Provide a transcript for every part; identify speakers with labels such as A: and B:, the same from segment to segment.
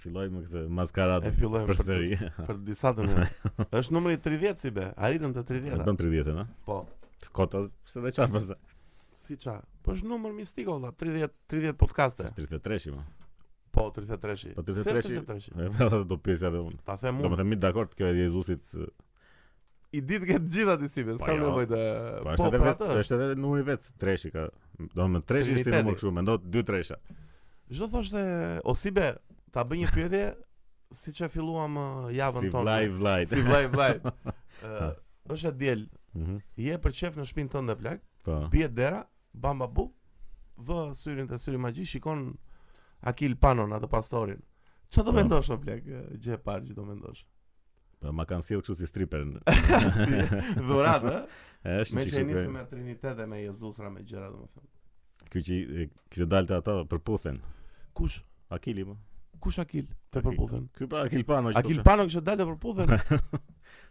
A: filloj me këtë maskarat
B: E fillojmë për
A: përsëri.
B: Për disa të mirë. Është numri 30 si be. Arritëm të
A: E
B: 30.
A: bën 30-ën, a?
B: Po.
A: Kota, se dhe çfarë pastaj?
B: Si ça? Po është numër mistik olla, 30 30 podcaste.
A: 33-shi më.
B: Po, 33-shi.
A: Po,
B: Pse
A: 33-shi?
B: 33-shi?
A: E pra do pyesja edhe unë.
B: Ta them
A: Do
B: unë.
A: të themi dakord kjo e Jezusit. e,
B: I ditë këtë gjitha ti si be, s'kam
A: jo.
B: nevojë të
A: Po është
B: pra
A: edhe vetë, është edhe numri vet treshi ka. Do më treshi është si
B: Triniteti.
A: numër kështu, mendo dy tresha.
B: Çdo thoshte o si be, ta bëj një pyetje siç e filluam ë, javën
A: Si
B: Po, tonë.
A: vllai vllai.
B: Si vllai vllai. Ë, është e diel.
A: Mhm.
B: Je për qef në shtëpinë tënde plak,
A: Po.
B: bie dera, bam bam bu, vë syrin të syri magji, shikon Akil Panon atë pastorin. Ço do
A: Po.
B: mendosh o plak, ë, gjë e parë që do mendosh.
A: Po ma kanë sjell kështu si stripper.
B: si dhuratë, ë?
A: E, Është një
B: me që e
A: çik.
B: nisi me
A: kështu,
B: Trinitet dhe me Jezus ra me gjëra domethënë.
A: Ky që i- kishte dalë te ato për puthen.
B: Kush
A: Akili më.
B: kush Akil te
A: Akil.
B: përputhen?
A: Ky pra Akil Pano. që
B: Akil
A: thoshte.
B: Pano kishte dalë te përputhen.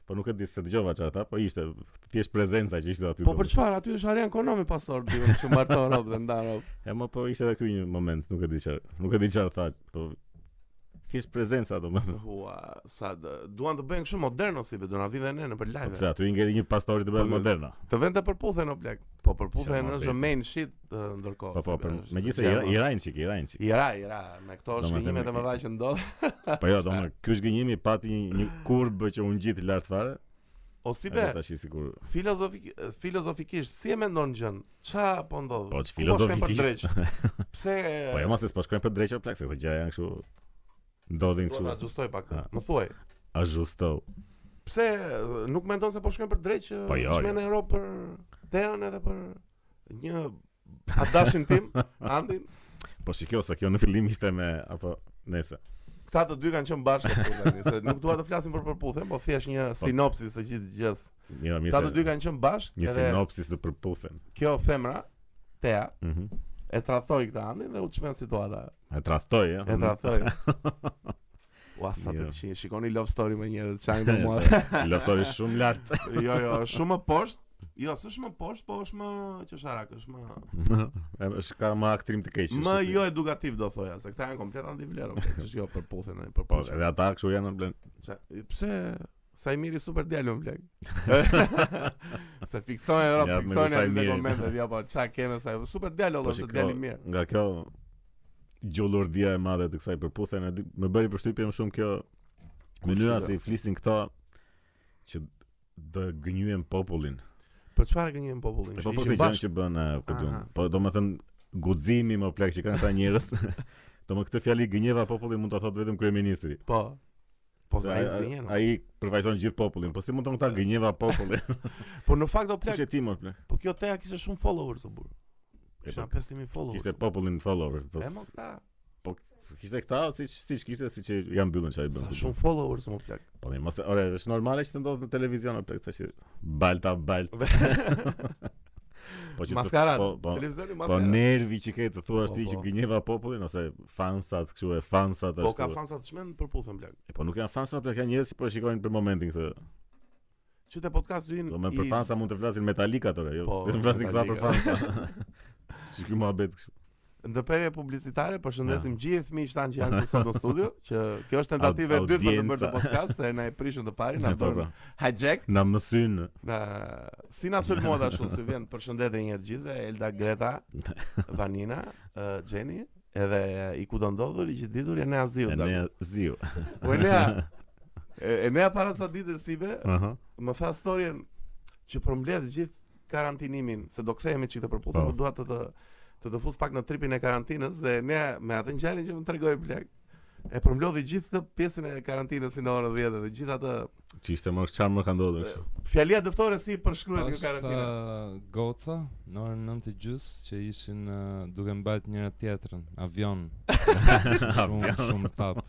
A: Po nuk e di se dëgjova çfarë ata, po ishte thjesht prezenca që ishte aty.
B: Po
A: do
B: për
A: më-
B: çfarë? Aty është Arian Konomi pastor, diun që mbarton rob dhe ndan rob.
A: E më po ishte edhe ky një moment, nuk e di çfarë. Nuk e di çfarë tha, po thjesht prezenca domethënë.
B: Ua, sa dë, duan të bëjnë kështu moderno si be, do na vinë dhe ne në për
A: Po
B: live.
A: pse aty i ngeli një pastori të bëhet
B: Po,
A: moderna.
B: Të vend të përputhen o plak. Po përputhen
A: Qa,
B: është
A: ma
B: main shit ë,
A: Po
B: ndërkohë.
A: po, për megjithëse i- i
B: Ira,
A: rajnë çik, i rajnë çik.
B: Ira, Ira, me këto
A: Do me
B: shkënjime
A: thënë,
B: të mëdha që ndodh.
A: Po jo, domethënë ky zgjënjimi pati një, një kurbë që u ngjit lart fare.
B: O si be,
A: Edhe tash i sigur.
B: filozofik filozofikisht si e mendon gjën? Ça po ndodh?
A: Po, që
B: Ku po shkojmë për
A: filozofikisht?
B: drejt? Pse
A: Po jo, mos e s'po shkojmë për drejtë plak, se këto gjëra janë kështu ndodhin
B: do ta
A: kështu.
B: ajustoj pak.
A: Ha.
B: Më thuaj,
A: Ajusto.
B: pse e, nuk mendon se po shkojmë për drejt që
A: Po, jo, jo.
B: shmenë në Europë për Teon edhe për një adashin tim, Andin?
A: Po shikoj sa kjo në fillim ishte me apo nëse.
B: Këta të dy kanë qenë bashkë këtu tani, se nuk dua të flasim për përputhen, po thjesht një sinopsis të gjithë gjës.
A: Mirë, Jo, mirë.
B: Këta të
A: se
B: dy kanë qenë bashkë,
A: Një
B: edhe
A: sinopsis të përputhen.
B: kjo femra, Tea,
A: Mhm.
B: e tradhoi këtë Andin dhe u çmen situata.
A: E tradhtoj, ja.
B: E tradhoi. Ua sa të
A: Mm. Jo.
B: kishin, shikoni Love Story me njerëz, çajin të mua.
A: Lësori shumë lart.
B: Jo, jo, është shumë më poshtë. Jo, s'është më poshtë, po është më qesharak, është më
A: E, është ka më aktrim të keq.
B: më
A: është
B: jo
A: të-
B: edukativ do thoja, se këta janë komplet antivlerë, ç'është kjo përputhen,
A: Po,
B: përputhen.
A: edhe ata kështu janë në blen. po
B: Qa, pse sa i miri super djalë më plak. se fiksojnë ora,
A: Ja, me
B: fiksojnë
A: sa i
B: aty në
A: miri.
B: komentet, ja po çka keme sa i- super djalë
A: Po
B: olla, është
A: shiko,
B: djalë i mirë.
A: Nga kjo gjullurdia e madhe të kësaj përputhen e di- më bëri përshtypje më shumë kjo mënyra
B: Kush
A: si flisin këta që dë gënyen popullin. po
B: Për çfarë gënjen popullin?
A: E
B: Që
A: Po po
B: ishin
A: të gjën
B: bashkë?
A: që bën e, ku diun.
B: Aha.
A: Po domethën guximi më plak që kanë këta njerëz. Do më këtë fjali gënjeva populli mund ta thotë vetëm kryeministri.
B: Po. Po
A: Se
B: ai zgjen.
A: ai- ai përfaqëson gjithë popullin, po si mund të thonë këta gënjeva populli?
B: Po në fakt do
A: Kush
B: plak,
A: e ti më plak?
B: po kjo teja kishte shumë followers o burr.
A: E, po,
B: Kisha 5000 followers.
A: Kishte popullin follower, po.
B: E mo këta,
A: Kishte këta siç siç kishte siç e janë mbyllën çaj bën.
B: sa shumë followers më plak.
A: Po mirë, mos e- ore, është normale që të ndodh në televizion apo tash. Balta balt. Po të-
B: Maskarat.
A: Po, po,
B: Televizioni
A: po
B: maskarat.
A: nervi që ke të thuash
B: Po,
A: ti që
B: po.
A: gënjeva popullin ose fansat kështu e fansat
B: Po
A: ashtu.
B: ka fansa të shmend përputhen plak.
A: E, Po nuk janë fansa, por janë njerëz që po e shikojnë për momentin këtë.
B: Qytet podcast hyn.
A: Do më
B: i-
A: për fansa mund të flasin Metallica tore, jo.
B: Po,
A: Vetëm flasin këta për
B: Metallica.
A: fansa. Shikoj muhabet kështu.
B: Ndërprerje publicitare, përshëndesim gjithë miqtë tanë që janë këtu sot në studio, që kjo është tentativë e
A: Aud-
B: dytë për të bërë
A: audienca.
B: të podcast, se na e prishën të parin, na
A: E, po,
B: bën
A: po.
B: hijack.
A: Na mësyn.
B: Na si na sulmuat ashtu si vjen, përshëndetje një herë gjithëve, Elda Greta, Vanina, uh, Jenny, edhe i ku do ndodhur, i gjithë ditur janë Aziu.
A: E
B: Enea.
A: ne ziu.
B: Enea. E- Enea para sa ditësh sibe,
A: Aha.
B: më tha storjen që përmbledh gjithë karantinimin, se do kthehemi çikë të përputhur,
A: Po.
B: por dua të të të të fus pak në tripin e karantinës dhe ne me atë ngjarjen që më tregoi plak e përmlodhi gjithë këtë pjesën e karantinës si në orën 10 dhe gjithë atë
A: Çishte më çfarë më ka ndodhur kështu.
B: Jo. fjalia dëftore si përshkruhet kjo
C: Është
B: karantinë.
C: uh, goca në orën 9 gjys që ishin uh, duke mbajt njëra tjetrën, avion. shumë shumë tap.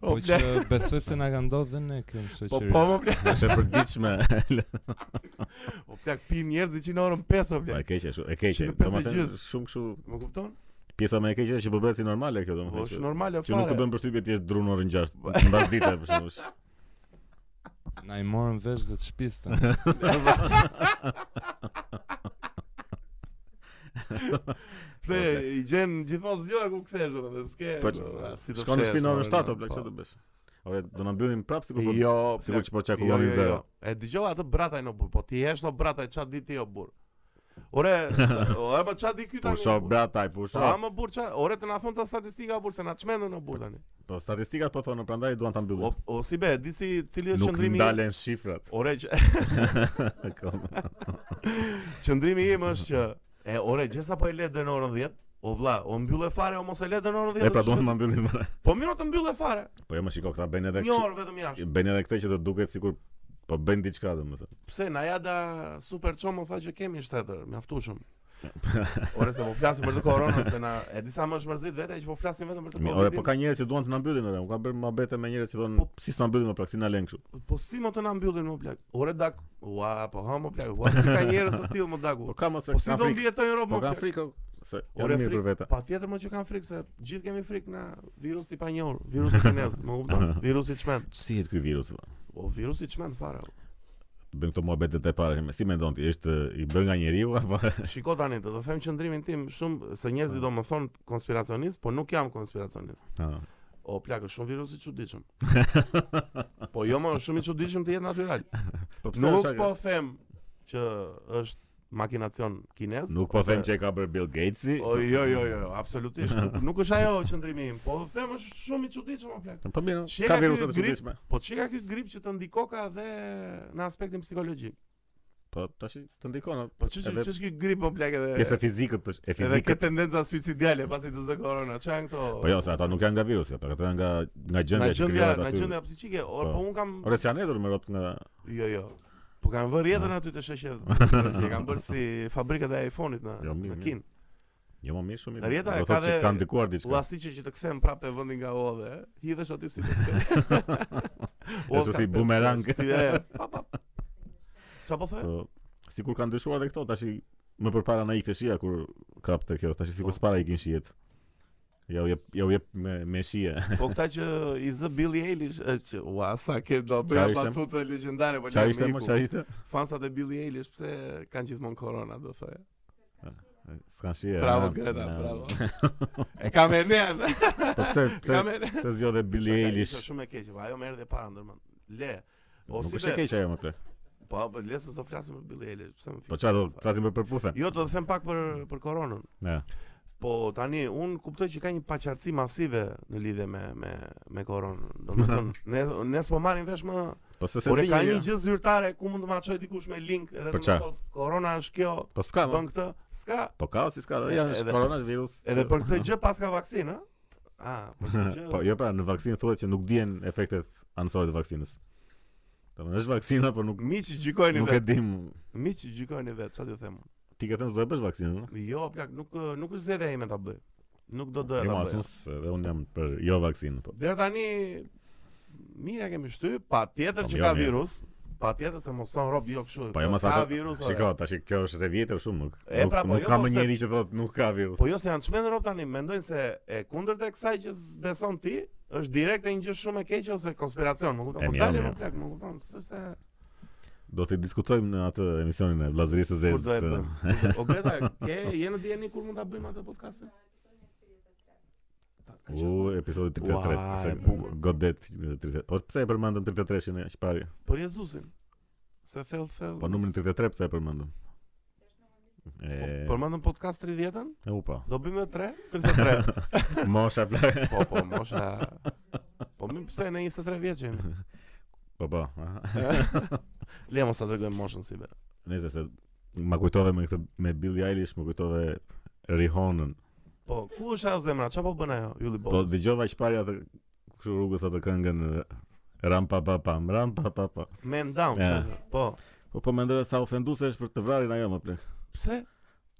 C: Po
B: O
C: që
B: plak,
C: besoj se na ka ndodhur dhe ne këtu në
B: po
C: shoqëri.
B: po më plak,
A: Është e përditshme.
B: o plak pin njerëzit që në orën 5 o
A: Po e
B: plak.
A: keqe, shumë- e keqe.
B: Që në
A: Domethënë
B: 50
A: shumë kështu
B: Më kupton?
A: pjesa më e keqe që po bëhet si normale kjo
B: Po
A: domethënë.
B: është
A: që-
B: normale
A: Që nuk të
B: fare. Po.
A: bën përshtypje ti je drun orën 6 mbas dite për shembull. Po,
C: Na i morën vesh dhe të shpistën.
B: Se i gjen gjithmonë zgjoa ku kthesh domethënë, s'ke.
A: Po,
B: a, si do
A: Shkon në
B: fshesh,
A: spinë orën
B: domethënë,
A: 7, o plak,
B: po.
A: çfarë të bësh? Ore, do na mbyllim prapë sikur po
B: Jo,
A: sikur
B: plak,
A: që po çakulloni
B: jo, jo,
A: zero.
B: jo. E dëgjova atë brataj në burr, po ti hesh në brataj ç'a di ti o jo burr. Ore, ore po ç'a di ky tani?
A: Pusho
B: o burr?
A: brataj,
B: Po
A: pusho.
B: ama burr ç'a, ore të na thon ta statistika o burr se na çmendën në burr tani.
A: Po statistikat po thonë, prandaj duan ta mbyllim.
B: O, o si be, di si cili është
A: Nuk
B: po, qëndrimi? Po,
A: ndalen shifrat.
B: Ore, që-
A: Akoma.
B: qëndrimi im është që e ore gjesa po e le deri në orën 10. O vlla, o mbyllë fare o mos e le deri në orën 10.
A: E pra
B: do të
A: duan ta mbyllim. ore.
B: shkoj. Po mirë o të mbyllë fare.
A: Po jo, më shiko këta bëjnë edhe
B: Një
A: kështu-
B: orë vetëm jashtë.
A: bëjnë edhe këtë që të duket sikur po bëjnë diçka domethënë.
B: Pse na ja da super çomo tha që kemi shtetër, mjaftueshëm. Ore se po flasim për të koronën se na e disa më është mërzit vete që po flasim vetëm për të
A: Mi-
B: koronën.
A: Ore, po ka njerëz që duan të na mbyllin ore. Unë kam bërë mohabete me njerëz që thonë,
B: Po-
A: si s'na mbyllin më pra, si na lën kështu.
B: Po si më të na mbyllin më plak? Ore dak. Ua, po ha më plak. Ua, si ka njerëz të tillë më daku.
A: Po ka mos
B: Po si
A: ka
B: do
A: frikë.
B: mbijetojnë rob
A: Po
B: më
A: ka
B: plak?
A: frikë. o, Se
B: Ore,
A: janë mirë për
B: frikë-
A: vete.
B: Pa tjetër më që kanë frikë se gjithë kemi frikë na virus i panjohur, virus i kinez, më kupton? Virus i çmend.
A: Si jetë ky virus? valla?
B: O virus i çmend fare. o.
A: Bëjmë këto mohabete të para, si mendon ti, është i bërë nga njeriu apo
B: Shiko tani, do të them qëndrimin tim shumë se njerëzit
A: Po.
B: do më thonë konspiracionist, po nuk jam konspiracionist.
A: Ah.
B: O plak, është shumë virus i çuditshëm. po jo më është shumë i çuditshëm të jetë natyral.
A: Po pse
B: Nuk
A: është kjo?
B: po them që është makinacion kinez.
A: Nuk po
B: ose-
A: them që e ka bërë Bill Gatesi.
B: O jo jo jo, absolutisht. Nuk, nuk është ajo qëndrimi im, po them është shumë i çuditshëm o plak.
A: Po mirë,
B: Sheka
A: ka
B: ky
A: viruset të
B: grip-
A: çuditshme.
B: Po çka ky grip që të ndikoka dhe në aspektin psikologjik.
A: Po tash të ndikon.
B: Po ç'është
A: Edhe-
B: ç'është ky grip o plak edhe
A: Pjesë e fizikët është, e
B: edhe këtë
A: fizikët.
B: tendenca suicidale pasi të zë korona. Ç'an këto?
A: Po jo, se ato nuk janë nga virusi, apo ato janë nga nga
B: Na
A: gjendja që
B: gjendja,
A: krijohet
B: na
A: aty.
B: gjendja psiqike. Or
A: Po.
B: po un kam
A: Ore si janë hedhur me ropt nga
B: jo jo. Po kanë vënë jetën aty të sheshet. Që kanë bërë si fabrikat e iPhone-it në
A: Jo, mirë,
B: në
A: mirë.
B: Kin.
A: Jo më mirë shumë. mirë.
B: Rjeta
A: Do
B: ka
A: thotë
B: dhe
A: që kanë ndikuar diçka.
B: Llastiqe që të kthen prapë te vendi nga odhe, e? hidhesh aty si.
A: Është si bumerang.
B: Si e. pa, pa. Çfarë po thoj?
A: Po sikur kanë ndryshuar edhe këto tash më përpara na ikte shija kur kapte kjo, tash sikur
B: Po.
A: s'para ikin shijet. Ja u jep ja u jep me me shije.
B: Po këta që i zë Billy Eilish, e që ua sa ke do
A: Çfarë
B: bëja
A: ishte?
B: batutë legjendare po
A: Çfarë
B: ne
A: ishte
B: me
A: më
B: iku.
A: çfarë ishte?
B: Fansat e Billy Eilish pse kanë gjithmonë korona do thoya.
A: S'kan shije.
B: Bravo
A: na,
B: Greta,
A: na.
B: bravo. E kam e ne.
A: Po pse pse
B: Kam e ne.
A: pse zgjodhe Billy
B: Ishte-
A: Eilish?
B: Ishte shumë e keqe, po ajo më erdhi para ndërmend. Le. O
A: Nuk
B: si
A: është e
B: be,
A: keq ajo më plak.
B: Po, po, le se do flasim për Billy Eilish, pse më.
A: Po
B: fik-
A: çfarë do flasim për përputhen?
B: Jo, do të them pak për për koronën.
A: Ja.
B: Po tani un kuptoj që ka një paqartësi masive në lidhje me me me koronën. Domethënë, ne ne s'po marrim vesh më
A: Po se se
B: Ore
A: di.
B: ka
A: ja.
B: një gjë zyrtare ku mund të ma çoj dikush me link edhe
A: Për
B: të më
A: çfarë?
B: thotë korona është kjo,
A: Po s'ka. mo.
B: bën këtë, s'ka.
A: Po ka o si s'ka? Ja, është
B: Edhe-
A: koronavirus.
B: Edhe
A: që-
B: për këtë gjë pas ka vaksinë, ë? Ah, për këtë gjë.
A: Po jo pra, në vaksinë thuhet që nuk dihen efektet anësore të vaksinës. Domethënë është vaksina, por nuk
B: Miq gjykojeni
A: jo. nuk e
B: vetë.
A: dim.
B: Miq gjykojeni vetë, çfarë do them unë?
A: Ti ke thënë s'do e bësh vaksinën, no?
B: Jo, plak, nuk nuk është zgjedhja ime ta bëj. Nuk do doja
A: Jo,
B: ta
A: as
B: bëj.
A: unë, se dhe unë jam për jo vaksinë, po.
B: Deri tani mirë e kemi shty, patjetër
A: Po,
B: që
A: jo,
B: ka
A: mirë.
B: virus, patjetër se mos son rob jo kështu.
A: Po jo mas
B: ka
A: ato.
B: virus. ore.
A: Shiko, tash kjo është e vjetër shumë, nuk.
B: E,
A: nuk-
B: pra, po,
A: nuk
B: jo,
A: ka
B: po,
A: më
B: se-
A: njëri që thotë nuk ka virus.
B: Po jo se janë çmendë rob tani, mendojnë se e kundërt e kësaj që beson ti është direkte një gjë shumë e keqe ose konspiracion, më
A: E,
B: kupton? Po
A: mirë,
B: dalë
A: mirë.
B: më plak, më kupton se se
A: Do të diskutojmë në atë emisionin e Vllazërisë së
B: kur do e
A: Zezë.
B: bëjmë. Kur do- O Greta, ke je në dieni kur mund ta bëjmë atë podcastin?
A: U episodi 33.
B: Ua,
A: se
B: e bukur.
A: Godet 33. Po pse e përmendëm 33-shin aq parë?
B: Për Jezusin. Se thell thell.
A: Po numrin 33 pse e përmendëm? E,
B: Po, Përmendëm podcast 30-ën,
A: e u pa.
B: do bëjmë 3, 33.
A: Mosha plak.
B: Po po, mosha. Po më pse në 23 vjeç jemi?
A: Po po. aha.
B: Le mos ta tregojmë moshën si be.
A: Nëse se ma kujtove me këtë me Billie Eilish, më kujtove Rihonën.
B: Po, ku është ajo zemra? Çfarë po bën ajo? Ylli
A: Po
B: Bobës.
A: dëgjova çfarë atë kështu rrugës atë këngën e, Ram pa pa pam, ram pa pa pa.
B: Man down.
A: Ja.
B: çfarë? Po.
A: Po po mendoj sa ofenduese është për të vrarin ajo më plek.
B: Pse?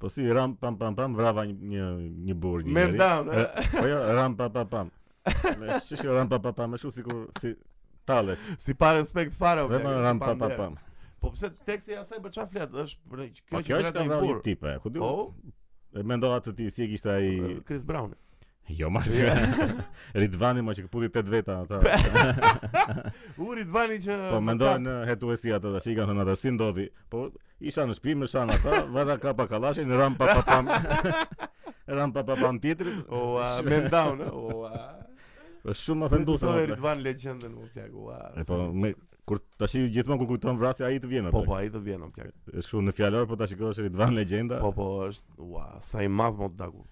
A: Po si ram pam pam pam vrava një një, një burr një
B: Man
A: njeri.
B: down. eh?
A: E, Po jo ram pa pa pam. Ne shishë ram pa pa pam, më shumë sikur si tallesh.
B: Si pa respekt fare. o
A: Dhe
B: blerë,
A: më
B: si
A: ram pa pa
B: nder.
A: pam.
B: Po pse teksti i asaj për çfarë flet? Është për
A: Po
B: kjo
A: kjo
B: që
A: është ka
B: ka
A: vrarë
B: bur.
A: një tipe, ku di.
B: Po, eh,
A: E mendova të ti si e kishte ai
B: Chris Brown.
A: Jo, ma që Ridvani ma që këputi të dveta ata
B: U Ridvani që
A: Po mendoj në hetuesi ata tash i kanë thënë ata si ndodhi Po Isha në shtëpi, më shan ata, vata ka pa kallashin, ram pa pa pam. ram pa pa pam tjetrit.
B: O, a, man down, eh? o, a.
A: Është Po, shumë ofenduese.
B: Kuptoj
A: më plak.
B: Ridvan legjendën më plak, ua.
A: E po me kur tash gjithmonë kur kujton vrasje ai të vjen
B: Po
A: apo.
B: po ai do vjen më plak.
A: Është kështu në fjalor, po ta shikosh Ridvan legjenda.
B: Po po është ua, sa i madh më daku.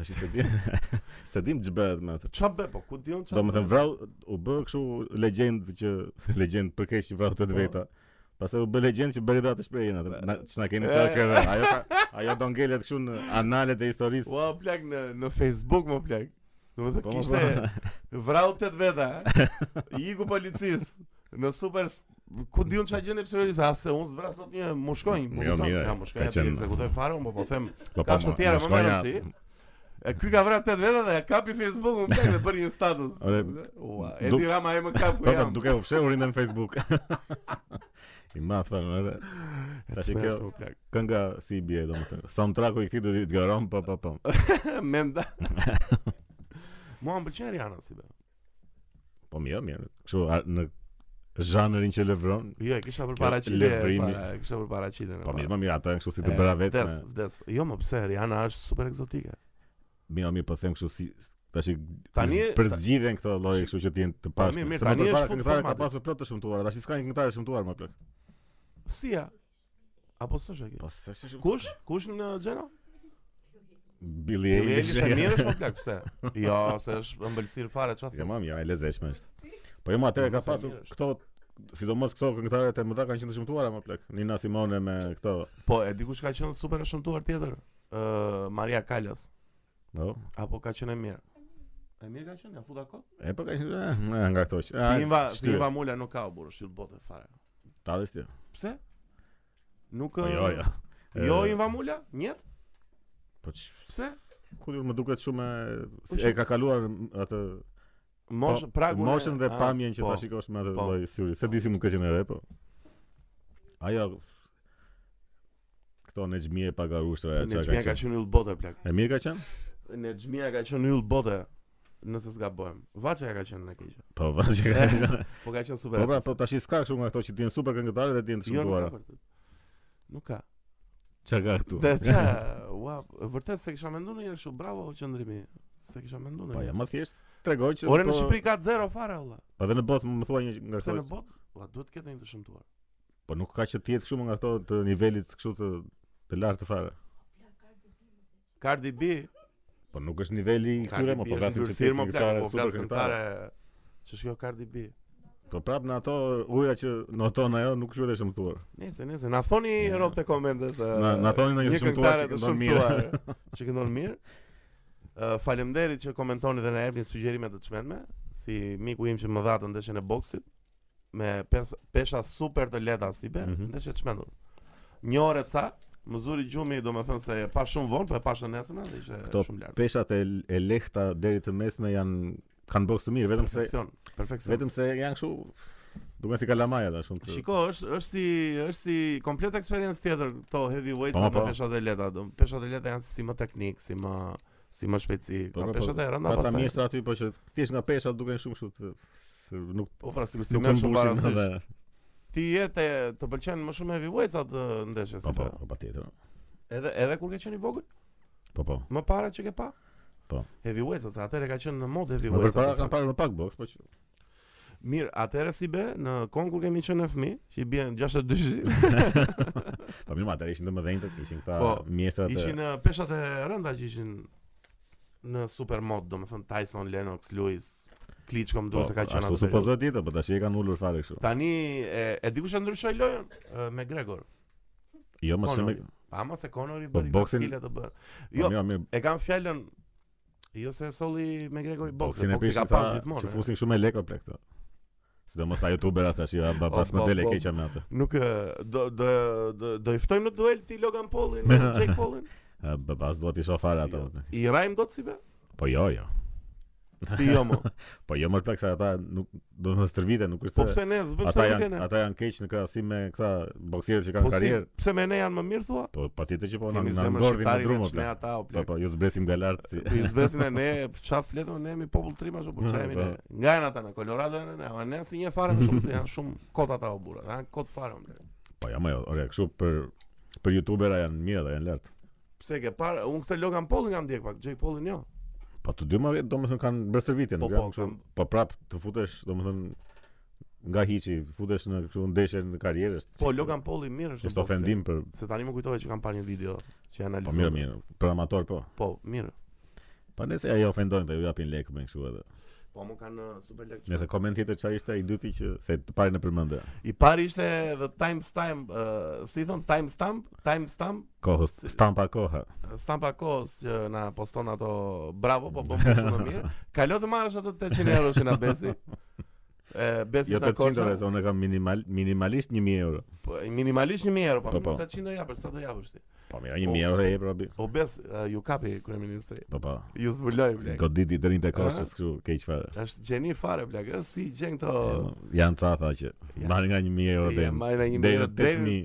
A: Tash se di. se dim ç'bëhet me atë.
B: Ç'a bë po, ku diun ç'a.
A: Do më thënë vrau u bë kështu legjend që legjend për keq që vrau
B: Po.
A: të veta. Pastaj u bë legjend që bëri datë shprehjen atë. Na ç'na keni çfarë kërë. Ajo ka, ajo do ngelet kështu në analet e historisë.
B: Ua, plak në në Facebook më plak. Do më thënë
A: Po, po,
B: kishte vrau tet veta. eh? I iku policisë në super ku diun ç'a gjën e psoriasis, a se unë zvras sot një mushkonj, po
A: Jo,
B: kupton,
A: mirë,
B: ja mushkonj
A: ka
B: atë
A: qenë-
B: ekzekutoj fare, unë, po po them,
A: Po
B: ka të tjera,
A: ma
B: më
A: shkonja-
B: merren si.
A: po,
B: E ky ka vrarë tet veta dhe e kapi Facebook-un plak dhe bëri një status.
A: Ore,
B: Ua, e
A: duk-
B: di rama e më kap ku
A: Po ta
B: jam.
A: duke u fshehurin në Facebook. I madh fare edhe tash e kjo-
B: Shumë plak.
A: kënga si i bie domethënë. Soundtracku i këtij do po, të të garon pa pa pa.
B: Menda. Mua më pëlqen Rihanna si be.
A: Po mirë, mirë. Kështu a- në zhanrin që lëvron.
B: Jo, e kisha për paraqitje,
A: levrimi.
B: para- e kisha për paraqitje.
A: Po mirë, më mirë ata janë kështu si të bëra vetë.
B: Vdes,
A: me-
B: vdes. Jo, më pse Rihanna është super ekzotike.
A: Mirë, mirë, po them kështu si tash
B: Tani- Po,
A: për zgjidhen këto lloje kështu që të jenë të pashme.
B: mirë, mirë,
A: Se më
B: tani
A: përpara
B: është fut
A: këngëtarë ka
B: formati.
A: pasur plot të shëmtuara. Tash s'ka një këngëtar të shëmtuar më plot.
B: Sia. Apo s'është e kjo?
A: Po s'është shumë.
B: Kush? Kush në Gjeno?
A: Billy
B: Billie
A: Eilish.
B: Eilish e mirë është po plak pse? Jo, se është ëmbëlsirë fare çfarë.
A: Jo,
B: thua.
A: mam, jo, e lezetshme është. Po jo, ma, atëherë ka
B: Mos e
A: pasur
B: mirë është.
A: këto sidomos këto këngëtarët e mëdha kanë qenë të shëmtuara më plot. Nina Simone me këto,
B: Po, e dikush ka qenë super e shëmtuar tjetër. Ë Maria Kalas.
A: no,
B: Apo ka qenë e mirë. E mirë ka qenë, ja futa kot.
A: E po ka qenë eh, eh, nga këto që. ah,
B: Sinva,
A: shtyhet.
B: Sinva Mula nuk ka u burë shil botë fare.
A: Ta dhe shtje.
B: Pse? Nuk
A: Po
B: ë,
A: jo, jo.
B: Jo
A: Eh,
B: Inva Mula? Njet?
A: Po që,
B: Pse?
A: ku diun, më duket shumë e- si,
B: Po,
A: e ka kaluar atë
B: Mosh,
A: po,
B: pragun. e-
A: moshën dhe
B: a,
A: pamjen që
B: po.
A: ta shikosh me atë
B: po.
A: lloj syri. Se di si mund të keqen e re, po. Ajo këto në xhmi e pagarushtra
B: Ne
A: çka
B: xhmia
A: ka
B: ka
A: qenë.
B: qenë yll bote plak.
A: E mirë ka qenë?
B: Ne xhmia ka qenë yll bote. Nëse s'gabojm. Vaçja ka qenë në keqë.
A: Po, vazhdo ka qenë.
B: Po ka qenë super.
A: Po pra, po tash i s'ka kështu nga këto që ti super këngëtare dhe ti të
B: jo, nuk ka.
A: shëmtuara.
B: për të. Nuk ka.
A: Çka ka këtu?
B: Dhe ça, ua, vërtet se kisha menduar një herë kështu, bravo qëndrimi. Se kisha menduar.
A: Po
B: një
A: ja,
B: herë.
A: më thjesht tregoj që
B: Ore
A: po-
B: në Shqipëri ka zero fare valla.
A: Po dhe në botë më thuaj një nga
B: Pse
A: këto.
B: në botë? Ua, duhet të ketë një të shëmtuar.
A: Po nuk ka që të jetë kështu më nga këto të nivelit kështu të të lartë fare.
B: Cardi B,
A: Po nuk është niveli i
B: Cardi
A: këtyre,
B: B
A: më po
B: është
A: flasim që ti
B: ndyrësirë, mo, plak,
A: këngëtare,
B: po
A: super
B: flas
A: këngëtare.
B: Që shkjo Cardi B.
A: Po prap në ato ujëra që noton ajo nuk është e shëmtuar.
B: Nese, nese, na thoni
A: Ja.
B: herop te komentet. ë,
A: Na- na thoni në një të shëmtuar
B: këngëtare
A: që
B: të
A: këndon mirë.
B: shëmtuar, Që këndon mirë. Ë, Faleminderit që komentoni dhe na jepni sugjerime të çmendme, si miku im që më dha të ndeshjen e boksit me pes, pesha super të lehta si be,
A: Mhm.
B: ndeshje të çmendur. Një orë ca, më zuri gjumi, do me thënë se e pa shumë vonë, po e pa shën nesër, dhe ishte
A: Këto
B: shumë lart.
A: Peshat e, e lehta deri të mesme janë kanë boks të mirë, vetëm se
B: Perfeksion, perfeksion.
A: vetëm se janë kështu duken si kalamaja ta shumë. Të,
B: Shiko, është është si është si komplet eksperiencë tjetër këto heavyweights
A: Po,
B: me
A: po.
B: peshat e lehta. do- Peshat e lehta janë si më teknik, si më si më shpejtësi.
A: Po,
B: Po,
A: po, po.
B: peshat e rënda
A: ka ca
B: pastaj.
A: mjeshtra aty, po që thjesht nga peshat duken shumë kështu të se nuk
B: Po pra sigurisht si
A: nuk
B: më
A: të
B: shumë
A: mbushin
B: para.
A: edhe
B: Ti je te të pëlqen më shumë heavyweights atë ndeshje
A: po
B: si.
A: po,
B: be.
A: po patjetër.
B: Edhe edhe kur ke qenë i vogël,
A: Po po.
B: më para që ke pa.
A: Po.
B: Heavyweights, ose atëre ka qenë në mod
A: Më
B: heavyweights.
A: përpara
B: atë
A: kanë
B: fakt.
A: parë më pak boks, po që
B: Mirë, atëre si be në konkur kemi qenë fëmijë, që i bien 62 shi.
A: po mirë, atë ishin të mëdhenjtë, ishin këta
B: Po,
A: mjeshtra të
B: Ishin uh, peshat e rënda që ishin në super mod, do më thënë Tyson, Lennox, Lewis, Klitschko më
A: Po,
B: duhet se ka
A: ashtu
B: qenë atë periudhë.
A: supozohet tjetër, po tash e kanë ulur fare kështu.
B: Tani e, e dikush e ndryshoi lojën e, me Gregor.
A: Jo, më shumë.
B: Conori. Pa ama se Conor i
A: Po,
B: bëri
A: boksin-
B: stile të bërë.
A: Jo,
B: Po, Jo,
A: mirë, mirë.
B: e kam fjalën jo se e solli me Gregor i boksi,
A: Boksin Po, e
B: boksi
A: prishin
B: ka
A: ta
B: pas
A: që
B: gjithmonë. e.
A: fusin shumë e lekë plek këto. Sidomos ta youtuberat tash jo, ba-
B: Po,
A: pas
B: po,
A: më dele
B: po.
A: keqa me atë.
B: Nuk e, do do do, do i ftojmë në duel ti Logan Paulin, e Jake Paulin.
A: A, ba- Pas dua ti shoh fare ato.
B: Jo.
A: plek.
B: I rajm dot si be?
A: Po jo, jo.
B: Si jo mo.
A: Po jo më plek se ata nuk do të stërvite, nuk
B: Po
A: është. se
B: pse ne s'bëjmë
A: Ata
B: se
A: janë ata janë keq në krahasim me këta boksierët që kanë
B: Po si,
A: karrierë.
B: pse me ne janë më mirë thua?
A: Po patjetër që po na
B: Kemi
A: na
B: zemrën
A: ngordhin në
B: shqiptare
A: drumë.
B: veç ne
A: plek.
B: ata o
A: Po
B: plak.
A: po, ju zbresim nga lart. si-
B: Po i zbresim e ne, çfarë fletëm ne jemi popull trim ashtu, po çajemi
A: Po.
B: ne. Nga janë ata në Colorado janë ne, ama ne si një fare më shumë se janë shumë kot ata o burra, janë kot fare o plak.
A: Po ja më, ore, kështu për për youtubera janë mirë ata, janë lart.
B: Pse ke parë, unë këtë Logan Paulin kam ndjek pak, Jake Paulin jo.
A: Po të dy më vjet, domethënë kanë bërë shërvitje,
B: Po
A: nuk
B: po,
A: janë kështu.
B: kam,
A: Po prap të futesh, domethënë nga hiçi, futesh në kështu ndeshje në karrierës.
B: po Logan Paulin mirë është. në
A: është
B: boxing.
A: ofendim për
B: Se tani më kujtohet që kam parë një video që janë
A: po mirë,
B: analizuar.
A: mirë, për amator po.
B: Po, mirë.
A: Po nëse ai ofendojnë, ta ju japin lekë me kështu edhe.
B: Po më kanë uh, super lek.
A: Nëse koment tjetër çfarë ishte ai dyti që the të parin në përmendje.
B: I pari ishte the timestamp, uh, si thon timestamp, timestamp,
A: Kohës, stampa koha.
B: stampa kohës që na poston ato bravo, po bëm punë shumë mirë. Kalo të marrësh ato 800 euro që na besi. E, besi
A: Jo
B: jo, na
A: 800
B: koqa.
A: euro, se unë e kam minimal minimalisht 1000 euro.
B: Po, minimalisht 1000 euro, po,
A: Po, po.
B: 800 do japësh, sa do japësh ti?
A: Po mira, 1000 euro e jep robi.
B: O bes, uh, ju kapi kryeministri.
A: Po po.
B: Ju zbuloj blek.
A: Goditi dërin të koshës
B: Aha.
A: kështu keq fare.
B: Është gjeni fare blek, ë, si gjen këto
A: E, po, Janë ca tha që
B: Po. Ja.
A: marr nga 1000 euro
B: Ja,
A: deri.
B: marrin na një
A: deri
B: mirë
A: në
B: 8000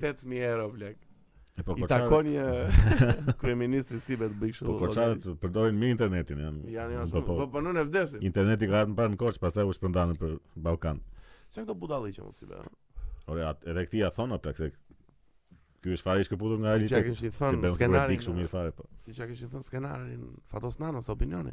A: 8.000.
B: 8000 euro blek.
A: E, Po
B: I
A: korçarët-
B: takon një kryeministri si vetë bëj kështu.
A: Po korçarët përdorin mirë internetin, janë.
B: janë janë
A: po,
B: shumë.
A: po.
B: Po punon e vdesin.
A: Interneti ka ardhur para në Korçë, pastaj u shpërndanën për Ballkan.
B: Çka këto budalliqe mos i bë. ë?
A: Ore, at- edhe këti ja thonë plak se ky është fare i shkëputur nga
B: Si çka
A: realiteti.
B: kishin
A: Se
B: thënë
A: bëhen skenarin
B: skenarin.
A: dik shumë mirë fare po.
B: Si çka kishin thënë skenarin Fatos Nanos opinioni.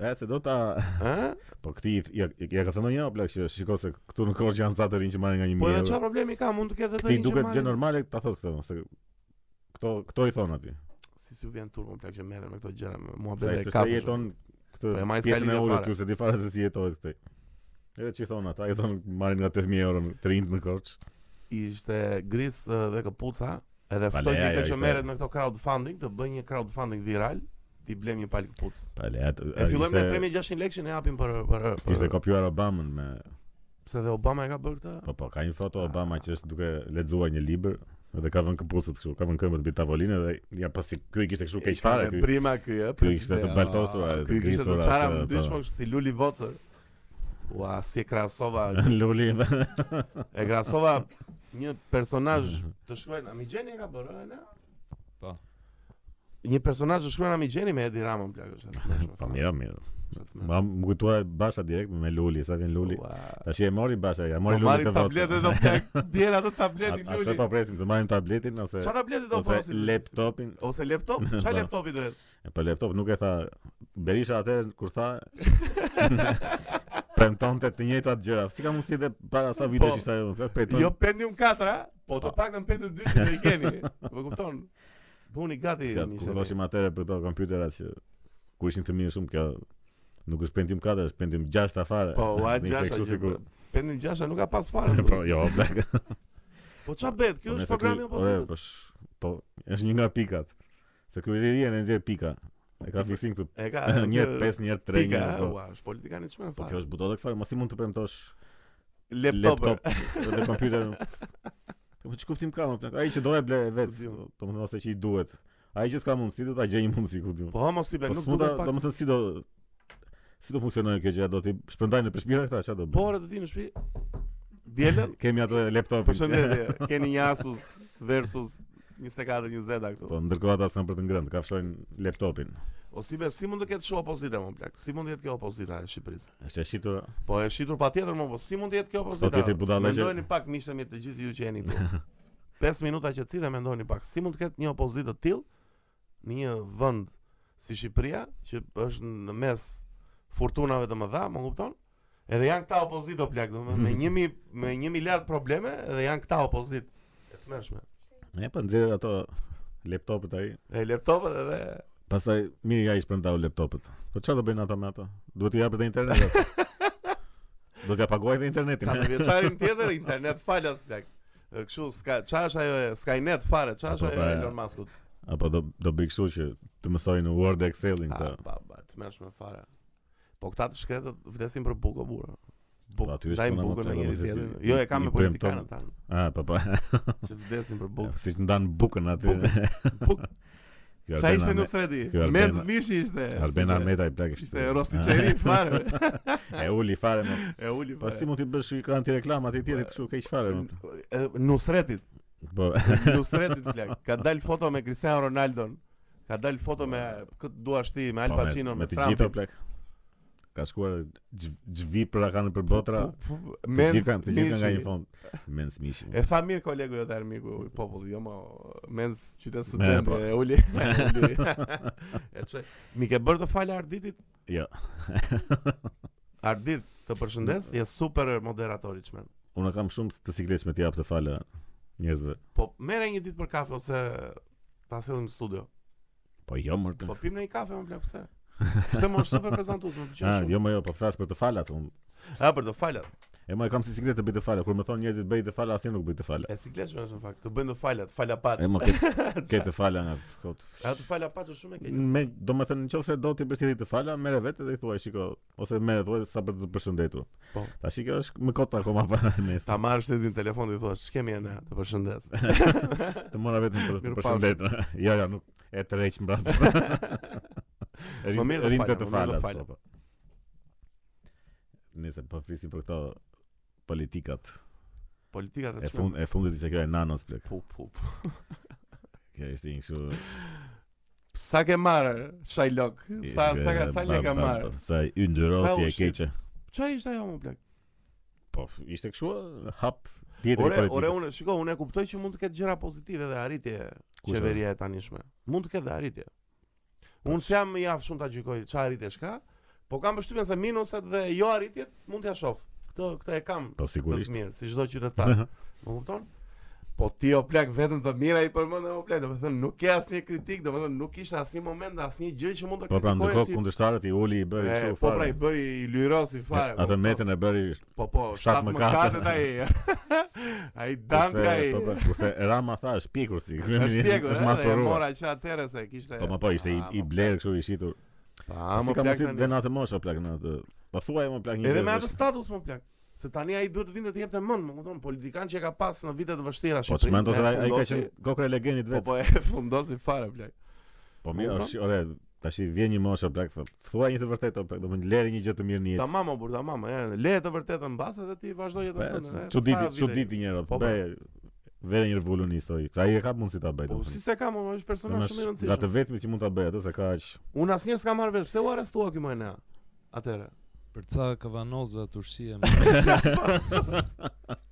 A: E se do ta
B: Ë?
A: po këti i- ja, ja ka thënë një plak që shiko se këtu në Korçë janë sa të rinj që marrin nga 1000
B: Po edhe
A: euro.
B: çfarë problemi ka, mund të ketë edhe
A: Këti
B: një
A: duket
B: që
A: gjë
B: marrin.
A: normale, ta thot këtë, se këto këto i thon aty.
B: Si si vjen turp më plak që merren me këto gjëra, me
A: Sa
B: muhabet
A: se
B: e
A: sa
B: kafshë.
A: jeton këtë
B: Po e marrin
A: pjesën e
B: skalinë
A: ulët
B: fare.
A: ju se di fare se si jetohet këtej. Edhe çi thon ata, i thon marrin nga 8000 euro në- të rinj në Korçë.
B: Ishte gris ë, dhe kapuca, edhe
A: Pa
B: ftoi
A: leja,
B: dikë
A: ajo
B: që
A: ishte-
B: merret me këto crowdfunding, të bëj një crowdfunding viral, ti blem një palë kapucë.
A: Pa le, atë
B: E fillojmë me
A: ishte-
B: 3600 lekë që ne japim për për për.
A: Kishte kopjuar Obamën me
B: pse dhe Obama e ka bërë këtë?
A: Po po, ka një foto Obama që është duke lexuar një libër dhe ka vënë këpucët kështu, ka vënë këmbët mbi tavolinë dhe ja pasi ky i kishte kështu keq fare ky.
B: Prima ky, ë.
A: Ky i kishte të
C: Ah,
A: baltosur, e,
B: Ky
A: të
B: kishte të
A: grisur.
B: çara
A: atë,
B: më
A: po.
B: dyshmë kështu si Luli Vocër. Ua, si e krahasova,
A: Luli.
B: e krahasova një personazh
A: Mhm.
B: të shkruajnë Amigjeni e ka bërë, ëh, ne?
C: Po.
B: Një personazh të shkruajnë Amigjeni me Edi Ramën plagësh.
A: Po mirë, mirë. Ma më kujtua Basha direkt me Luli, sa vjen Luli. Tash e mori Basha, ja Po, mori Luli
B: Mori Luli
A: të
B: tabletë
A: vocë.
B: Po, do plak, djer ato tabletin
A: Atë
B: Luli.
A: po presim të marrim tabletin ose
B: Çfarë tablete do
A: ose
B: prosim?
A: laptopin.
B: Ose laptop? Çfarë
A: Po.
B: laptopi do jetë?
A: E, Po laptop nuk e tha Berisha atëherë kur tha premtonte të njëjtat gjëra. Si ka mundësi dhe para sa vitesh
B: Po.
A: ishte ajo? plak, prejton-
B: Jo Pentium 4, a? po të
A: Po.
B: paktën Pentium 2 që do i keni. Po kupton? Puni gati.
A: Ja,
B: miqtë
A: kur
B: e mi.
A: thoshim atëre për këto kompjuterat që kur ishin të mirë shumë kjo nuk është Pentium 4, është Pentium 6 ta fare.
B: Po, ua
A: Ishte
B: gjasha
A: kështu
B: që
A: sikur.
B: Pentium 6 nuk ka pas fare.
A: Po, jo, blak.
B: Po ç'a bëhet? Ky është programi i
A: Po,
B: opozitës.
A: sh- po, është një nga pikat. Se kryerija e nxjerr pika. E ka fiksim këtu
B: E ka
A: njerë 5, njerë 3,
B: pika,
A: njerë po.
B: ua, është politika në çmend
A: Po kjo
B: fare.
A: është butotë fare, mos i mund të premtosh
B: Laptop.
A: laptop dhe kompjuter. Po ç'kuptim kuptim ka më plak. Ai që do e ble vet,
B: Kuptim.
A: domethënë ose që i duhet. Ai që s'ka mundësi do ta gjejë një mundësi ku diun.
B: Po mos i bën,
A: Po
B: nuk
A: s'mund ta,
B: duhet pak.
A: domethënë si do si do funksionojë kjo gjë, do ti shpërndajnë në përshpira këta, çfarë do
B: Po
A: bëjmë?
B: ora do ti në shtëpi. Dielën, Po
A: Kemi atë laptopin.
B: përshëndetje. Keni një Asus versus 24-20 këtu.
A: Po ndërkohë ata s'kan për të ngrënë, ka fshojnë laptopin.
B: O si be, si mund të ketë shumë opozita më plak? Si mund të jetë kjo opozita e Shqipërisë?
A: Është e shitura.
B: Po e shitur patjetër më, po si mund të jetë kjo opozita?
A: Sot jeti budalla që-
B: Mendojeni pak miqtë mi të gjithë ju që jeni këtu. 5 minuta që cilë mendojeni pak, si mund të ketë një opozitë të tillë në një vend si Shqipëria që është në mes furtunave të mëdha, më kupton? Edhe janë këta opozitë o plak, domethënë me 1000 me 1 miliard probleme edhe janë këta opozitë e tmerrshme.
A: E po nxjerr ato laptopët ai.
B: E laptopët edhe
A: Pastaj mirë ja i shpërndau laptopët. Po çfarë do bëjnë ata me ato? Duhet i japë dhe internet. ato. do t'ja paguaj dhe internetin.
B: kanë vjeçarin tjetër internet falas plak. E, Kështu ska çfarë është ajo e Skynet fare, çfarë është
A: Po,
B: ajo e
A: po,
B: Elon Muskut?
A: Apo do do bëj kështu që të mësojnë Word dhe Excelin
B: Ah,
A: këta.
B: ba, ba, të mërshme fare. Po këta të shkretët vdesin për buko, burë. Buk,
A: Po, aty është
B: dajnë
A: puna,
B: bukën
A: mo,
B: me
A: plak,
B: njëri
A: ose ti-
B: tjetrin. Jo, e kam
A: i
B: me
A: premton-
B: politikanët tanë,
A: Ah, po po.
B: që vdesin për bukë.
A: Siç ndan bukën aty.
B: Po. Bukën. Buk,
A: Kjo
B: qa
A: Arben
B: ishte
A: Ahmet-
B: Nusreti?
A: Ky Arben-
B: Med mishi ishte.
A: Arben
B: si
A: Ahmetaj plak
B: ishte-
A: ishte.
B: Ishte rosti qeri, fare.
A: E uli fare më.
B: E uli,
A: Po
B: fare.
A: si mund t'i bësh ekran ti reklama ti
B: Po.
A: tjetrit kështu keq fare më.
B: E, Nusretit,
A: Po.
B: Nusretit plak. Ka dal foto me Cristiano Ronaldon. Ka dal foto me këtë duash ti, me Al
A: po, me-
B: Pacino,
A: me
B: me
A: të gjitha
B: Trump.
A: plak. Ka shkuar xh- xhvipra kanë për botra.
B: Pu- pu-
A: Të
B: Mens
A: gjithë kanë, të gjithë kanë nga
B: mishi.
A: një fond. Mens mishi.
B: E tha mirë kolegu jotë armiku i popullit, jo më mens
A: Me,
B: qytet student
A: po.
B: e uli. e uli. e çoj. Mi ke bërë të falë Arditit?
A: Jo.
B: Ardit, të përshëndes, je super moderator i çmend.
A: Unë kam shumë të siklesh me të jap të falë njerëzve.
B: Po merre një ditë për kafe ose ta sillim në studio.
A: Po jo më.
B: Po pim në një kafe më plak pse? Pse më është super prezantues, më pëlqen
A: Ah,
B: shumë.
A: jo më jo, po flas për të falat unë.
B: A për të falat.
A: E më e kam si siklet të bëj të falat. Kur më thon njerëzit bëj të falat, asnjë nuk bëj të falat.
B: E sikleshme është në fakt, të bëjnë të falat, fala paç.
A: E më ke ke të falat nga kot.
B: A të fala paç është shumë e keq.
A: Me, do më thënë, nëse do t'i përshëndeti të fala, merre vetë dhe i thuaj, shiko, ose merre thuaj sa për të përshëndetur.
B: Po.
A: Ta shiko është më kot akoma para ne.
B: Ta marrësh ti në telefon dhe i thua, "Ç'kemi ende? Të përshëndes."
A: Të mora vetëm për të
B: Mirupafshim.
A: përshëndetur. Jo, jo, nuk e tërheq mbrapa.
B: Më mirë të
A: Rinte
B: falam,
A: të
B: më mirë të
A: falas.
B: falam.
A: po, po. Nëse po flisim për këto politikat
B: Politikat
A: e
B: e çmend.
A: fund e fundit ishte kjo e nanos plek.
B: Pu pu pu.
A: Kjo ishte një kështu
B: Sa ke marrë Shylock? Sa
A: ishte
B: sa ka
A: kjo, ba-
B: sa le ka
A: ba-
B: marrë?
A: ba- Sa i yndyrosje
B: Sa u
A: e keqe.
B: Çfarë ishte ajo më plak?
A: Po, ishte kështu hap tjetër i
B: Ore, ore
A: politikës.
B: unë, shiko, unë e kuptoj që mund të ketë gjëra pozitive dhe arritje
A: Kush
B: qeveria e tanishme. Mund të ketë dhe arritje.
A: Po
B: Unë se jam i aftë shumë ta gjykoj çfarë arritje ka, po kam përshtypjen se minuset dhe jo arritjet mund t'ja shoh. Këtë këtë e kam
A: Po
B: të
A: sigurisht.
B: mirë, si çdo qytetar. Më kupton? Po ti o plak vetëm të mira i përmendën o plak, domethënë nuk ke asnjë kritik, domethënë nuk kishte asnjë moment, asnjë gjë që mund të
A: Po pra ndërkohë
B: si-
A: kundërshtarët i uli i bëri
B: E,
A: kështu
B: Po pra i
A: fare.
B: bëri i lyros i fare.
A: Atë metën e bëri
B: Po po,
A: shtat
B: 7
A: më
B: mëkatet
A: katër.
B: ai. Ai dan
A: kurse-
B: ai.
A: po pra, Kurse Rama tha është pjekur si
B: Është
A: kryeminist
B: pjekur,
A: është
B: është
A: maturuar.
B: Mora që atëherë se kishte.
A: Po më po ishte i,
B: Ah,
A: i
B: mo,
A: bler kështu i shitur.
B: Pa,
A: A
B: më
A: si kam
B: plak
A: si
B: tani.
A: dhe natë mosha plak në atë. Po thuaj më plak një
B: Edhe me
A: vezë
B: atë
A: është-
B: status më plak. Se tani ai duhet të vinte të jepte mend, më kupton, politikan që e ka pas në vite të vështira
A: Po
B: Shqipërinë,
A: çmend ose
B: e
A: ai ai ka
B: fundosi-
A: qenë kokra e legendit
B: Po
A: vet.
B: po e fundosi fare plak.
A: Po mirë,
B: po.
A: është ore, tash i vjen një moshë plak. po Thuaj një të vërtetë o, plak, do të lëri një gjë të mirë në jetë.
B: Tamam, o burr, tamam. E, le të vërtetën mbas edhe ti vazhdo jetën tënde. e,
A: Po, Çuditi,
B: sa vite-
A: çuditi njëra.
B: Po, po.
A: Bëj vere një rrevullun histori. Sa ai e ka mundsi ta bëj.
B: Po
A: domethënë.
B: si se kam, o, është personazh shumë i
A: Domethënë, Nga të
B: rëndësishëm.
A: vetmit që mund ta bëj atë se ka aq.
B: Unë asnjëherë s'kam marrë vesh, pse u arrestua ky më ne? Atëherë.
C: Për ca kavanozve atë ushqie më.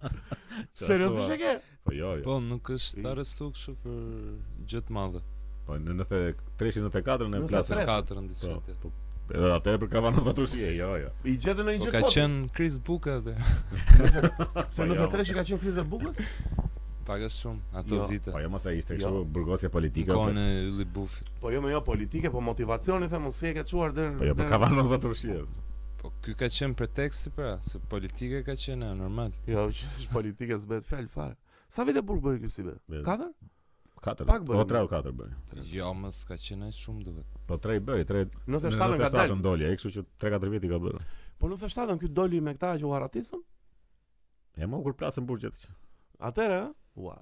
B: Seriozisht e ke?
A: Po jo, jo.
C: Po, nuk është arrestu kështu për gjë të madhe.
A: Po në 93 94 në
B: 93.
A: plasë.
C: Në katërën diçka
A: Po,
C: tjetër.
A: po. Edhe atë për kavanozat atushi, jo, jo.
B: I gjetën në një
C: Po
B: gjë
C: ka
B: kot.
C: qenë Chris Buka atë.
B: Se
A: Po,
B: në
A: jo.
B: vetre që ka qenë krizë e bukës?
C: Paga shumë ato
B: Jo,
C: vite.
A: Po jo mos ai ishte
B: Jo.
A: kështu burgosja
C: Në
A: politike.
C: kohën e Ylli Bufit.
B: Po jo, më jo politike, po motivacioni them, unë si e ke çuar deri.
A: Po jo për
B: deri-
A: kavanozat atushi.
C: Po ky ka qenë preteksti pra, se politike ka qenë e, normal.
B: Jo, që është politike s'bëhet fjalë fare. Sa vite burg bëri ky si be?
A: Be-
B: Katër?
A: 4.
B: Pak bëri.
A: Po 3 o 4 bëri.
C: Jo, mos ka qenë ai shumë duhet.
A: Po 3 bëri, 3.
B: 97 ka dalë.
A: ndoli, ai kështu që 3-4 vjet i ka bërë.
B: Po në 97 ky doli me këta që u harratisën?
A: E më kur plasën burgjet. që-
B: Atëherë, ë? ua.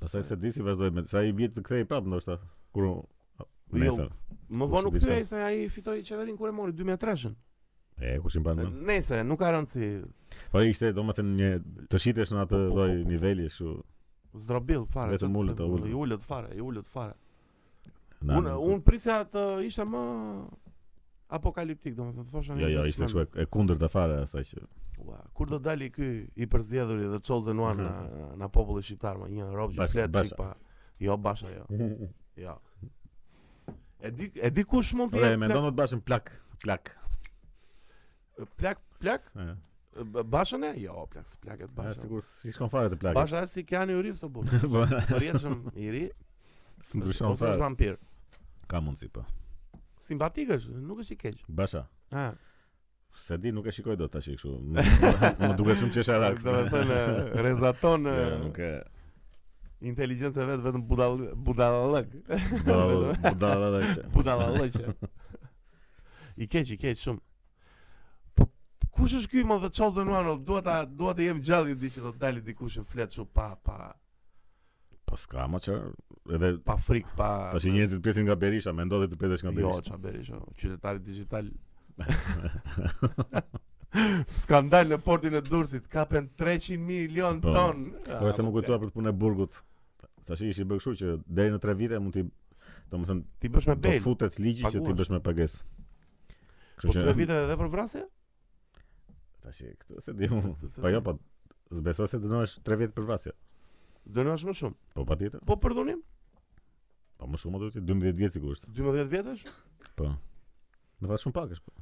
A: Pastaj se disi vazhdoi me sa i vjet të kthej prapë ndoshta. Kur u-
B: Jo.
A: Nesër.
B: Më
A: Po,
B: vonë u
A: si diçka.
B: kthye ai se ai fitoi qeverinë kur e mori 2003-shën.
A: E kush i mban mend?
B: Nëse nuk ka rëndsi,
A: Po ishte domethënë një të shitesh në atë
B: Po, po, po,
A: lloj
B: po.
A: niveli kështu.
B: zdrobill fare.
A: Vetëm
B: çfarë
A: ulët,
B: të-
A: a ulët.
B: I ulët fare, i ulët fare.
A: na-
B: Unë un prisja të ishte më apokaliptik, domethënë thosha
A: Jo, jo, ishte kështu e- e kundërta fare asaj që.
B: Ua, kur do dali ky i përzgjedhuri dhe chosen
A: Mhm.
B: one në në popullin shqiptar, më një rob që
A: Bash-
B: flet
A: Basha.
B: çik pa. Jo Basha, jo. Jo. E di e di kush mund të
A: Ore,
B: jetë
A: mendon do të bashim plak, plak.
B: plak- plak plak
A: E,
B: B- Bashën e? Jo, plak, plaket
A: e,
B: Basha.
A: sigur si shkon fare të plak.
B: Basha është si Keanu Reeves apo.
A: Po,
B: Përjetshëm i ri,
A: së ndryshon
B: ose është
A: fare.
B: vampir.
A: Ka mundsi po.
B: Simpatik është, nuk është i keq.
A: Basha.
B: Ha.
A: Se di nuk e shikoj dot tash kështu. Më më duket shumë qesharak.
B: Do të thënë rezaton
A: Jo, nuk e
B: inteligjencë vet vetëm budall budallëk.
A: do do do do.
B: Budalla lloqe. I keq, i keq shumë. Po kush është ky më the chosen one? o, Dua ta dua të jem gjallë një ditë që do të dalë dikush e flet kështu pa pa
A: Po s'ka më çfarë. Edhe
B: pa frik, pa
A: tash i njerëzit presin nga Berisha, mendon se të presesh nga
B: Jo,
A: Berisha.
B: ç'a bëri kështu. Qytetari digjital. Skandal në portin e Durrësit, kapen 300 milion
A: Po.
B: ton. Ah,
A: Po se më kujtoa për të punën e burgut. Tash ishi bërë kështu që deri në 3 vite mund ti domethënë
B: ti bësh me
A: do
B: bel.
A: futet ligji që ti
B: paguash.
A: bësh me pagesë.
B: Po
A: Kështu
B: tre vite edhe për vrasje?
A: tash këtë se di unë.
B: Këtë se
A: Po
B: di.
A: jo, po zbesoj se dënohesh 3 vjet për vrasje.
B: Dënohesh më shumë.
A: Po patjetër.
B: Po për dhunim?
A: Po më shumë do të jetë 12 vjet sigurisht.
B: 12 vjetësh?
A: Po. Në fakt shumë pak është. po.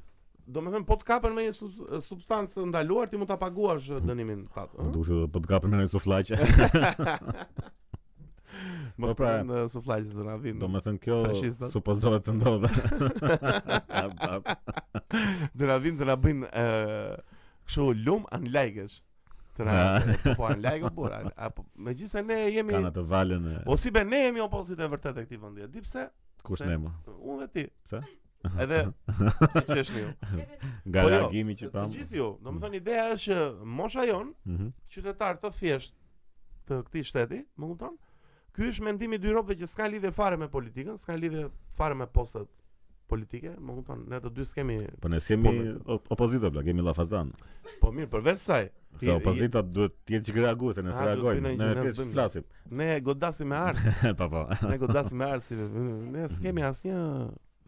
B: Do me thënë, po të kapen me një subs- substancë të ndaluar, ti mund ta paguash eh, dënimin tat.
A: Më duket se po të kapim me një sufllaqe.
B: Mos
A: Po, pra,
B: pra, në suflaqës të na vinë.
A: Do me thënë kjo
B: Fashistat.
A: supozohet të ndodhe. Ap, ap.
B: Të na vinë të na bëjnë ë kështu lum anlajkesh. Të na po anlajko burra. Apo megjithëse ne jemi
A: Kanë atë valën e
B: ose be ne jemi opozitë e vërtetë e këtij vendi. E Di pse?
A: kush
B: Po, se-
A: ne më.
B: Unë dhe ti.
A: Pse?
B: Edhe ti qeshni ju.
A: Nga
B: Po jo,
A: reagimi që
B: Të
A: pam.
B: gjithë ju. Domethënë ideja është që mosha jon
A: Mhm.
B: qytetar të thjesht të këtij shteti, më kupton? Ky është mendimi i dy robëve që s'ka lidhje fare me politikën, s'ka lidhje fare me postat politike, më kupton? Ne të dy s'kemi,
A: Po ne s'jemi op- opozita bla, kemi llafazan.
B: po mirë, përveç saj,
A: Se
B: I- i-
A: opozita duhet të jetë që reaguese, ne
B: A,
A: se
B: duhet
A: reagojmë,
B: bëjnë
A: ne
B: që ne
A: thjesht
B: s'bëjmë.
A: flasim.
B: ne godasim me art,
A: Po po.
B: ne godasim me art, si ne s'kemi asnjë,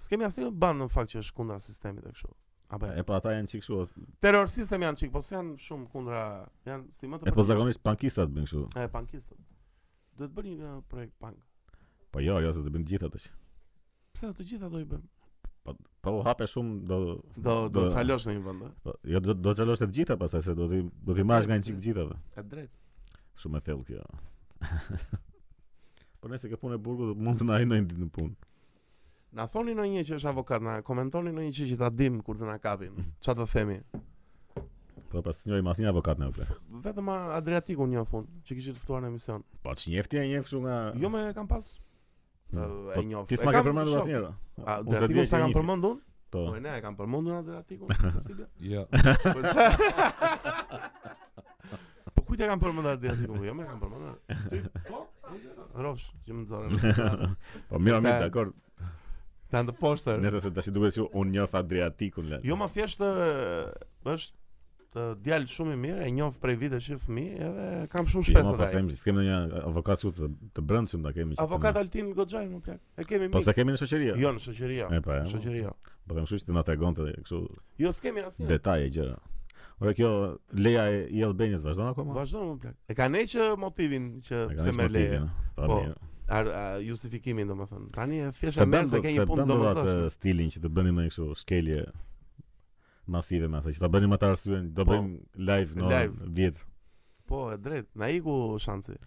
B: s'kemi asnjë band në fakt që është kundra sistemit e kështu. Apo
A: E po ata janë çik kështu. o-
B: terror sistem janë çik, po s'janë shumë kundra, janë si më të
A: E po zakonisht pankistat bën kështu.
B: e pankistët. Duhet bërë një uh, projekt punk.
A: Po jo, jo se do bëjmë gjithë atë. që-
B: Pse të gjitha do i bëjmë?
A: Po po u hape shumë do
B: Do do
A: Do-
B: çalosh në një vend. ë?
A: po, jo do do çalosh të gjitha pastaj se do ti do ti marrësh nga një çik të gjithave.
B: E drejt.
A: Shumë e thellë kjo. po nëse ke punë e burgut mund të na hyjë në ditë në punë.
B: Na thoni në një që është avokat, na komentoni në një që që ta dim kur të na kapin. Qa të themi?
A: Po pas njëri mas një avokat në vle.
B: Vetëm a- Adriatiku një fund, që kishit ftuar në emision.
A: Po ç'njefti e njeh kështu nga
B: Jo me e kam pas,
A: Ah. Po,
B: e njoh.
A: Ti
B: E
A: s'ma ke
B: kam
A: përmendur
B: shoh.
A: asnjëherë.
B: A,
A: Unë se di
B: Adriatiku
A: që
B: sa kam
A: njifi.
B: përmendur?
A: Po.
B: Po e ne e kam përmendur atë artikun.
C: Jo.
B: Po kujt e kam përmendur atë artikun? Jo, më kam përmendur. Ty, po. Rofsh, që më nxorën.
A: Po mirë, mirë,
B: Ta-
A: dakor.
B: Tan the poster.
A: Nëse se tash duhet si unë njoh Adriatikun. le.
B: Jo, më thjesht ë, është të djalë shumë i mirë, e njoh prej vitesh që fëmijë, edhe kam shumë
A: Jo, ma
B: shpresë
A: po
B: te ai.
A: them, s'kem ndonjë avokat shumë të, të brëndshëm ta kemi. që të
B: Avokat
A: na-
B: Altin Goxhaj më plak. E kemi
A: Po
B: mik.
A: se kemi në shoqëri.
B: Jo në shoqëri. jo.
A: E pa.
B: Në shoqëri. jo.
A: Po them kështu që të na tregonte kështu
B: Jo, s'kemi asnjë.
A: detaje gjëra. Ora kjo leja e i Albanias vazhdon akoma?
B: Vazhdo më plak. E kanë që motivin që
A: E ka
B: pse
A: nisë
B: merr leje.
A: motivin, a? Po.
B: Po,
A: mirë.
B: Ar- a, Justifikimin domethënë. Tani e thjesht
A: Se
B: e merr
A: bën
B: se
A: do
B: ke
A: se
B: një punë
A: bën do atë
B: domethënë.
A: stilin që të bënim ne kështu shkelje masive me atë që ta bënim atë arsyen, do
B: Po.
A: bëjmë live në orën
B: Live.
A: 10.
B: Po, e drejt. Na iku shansi.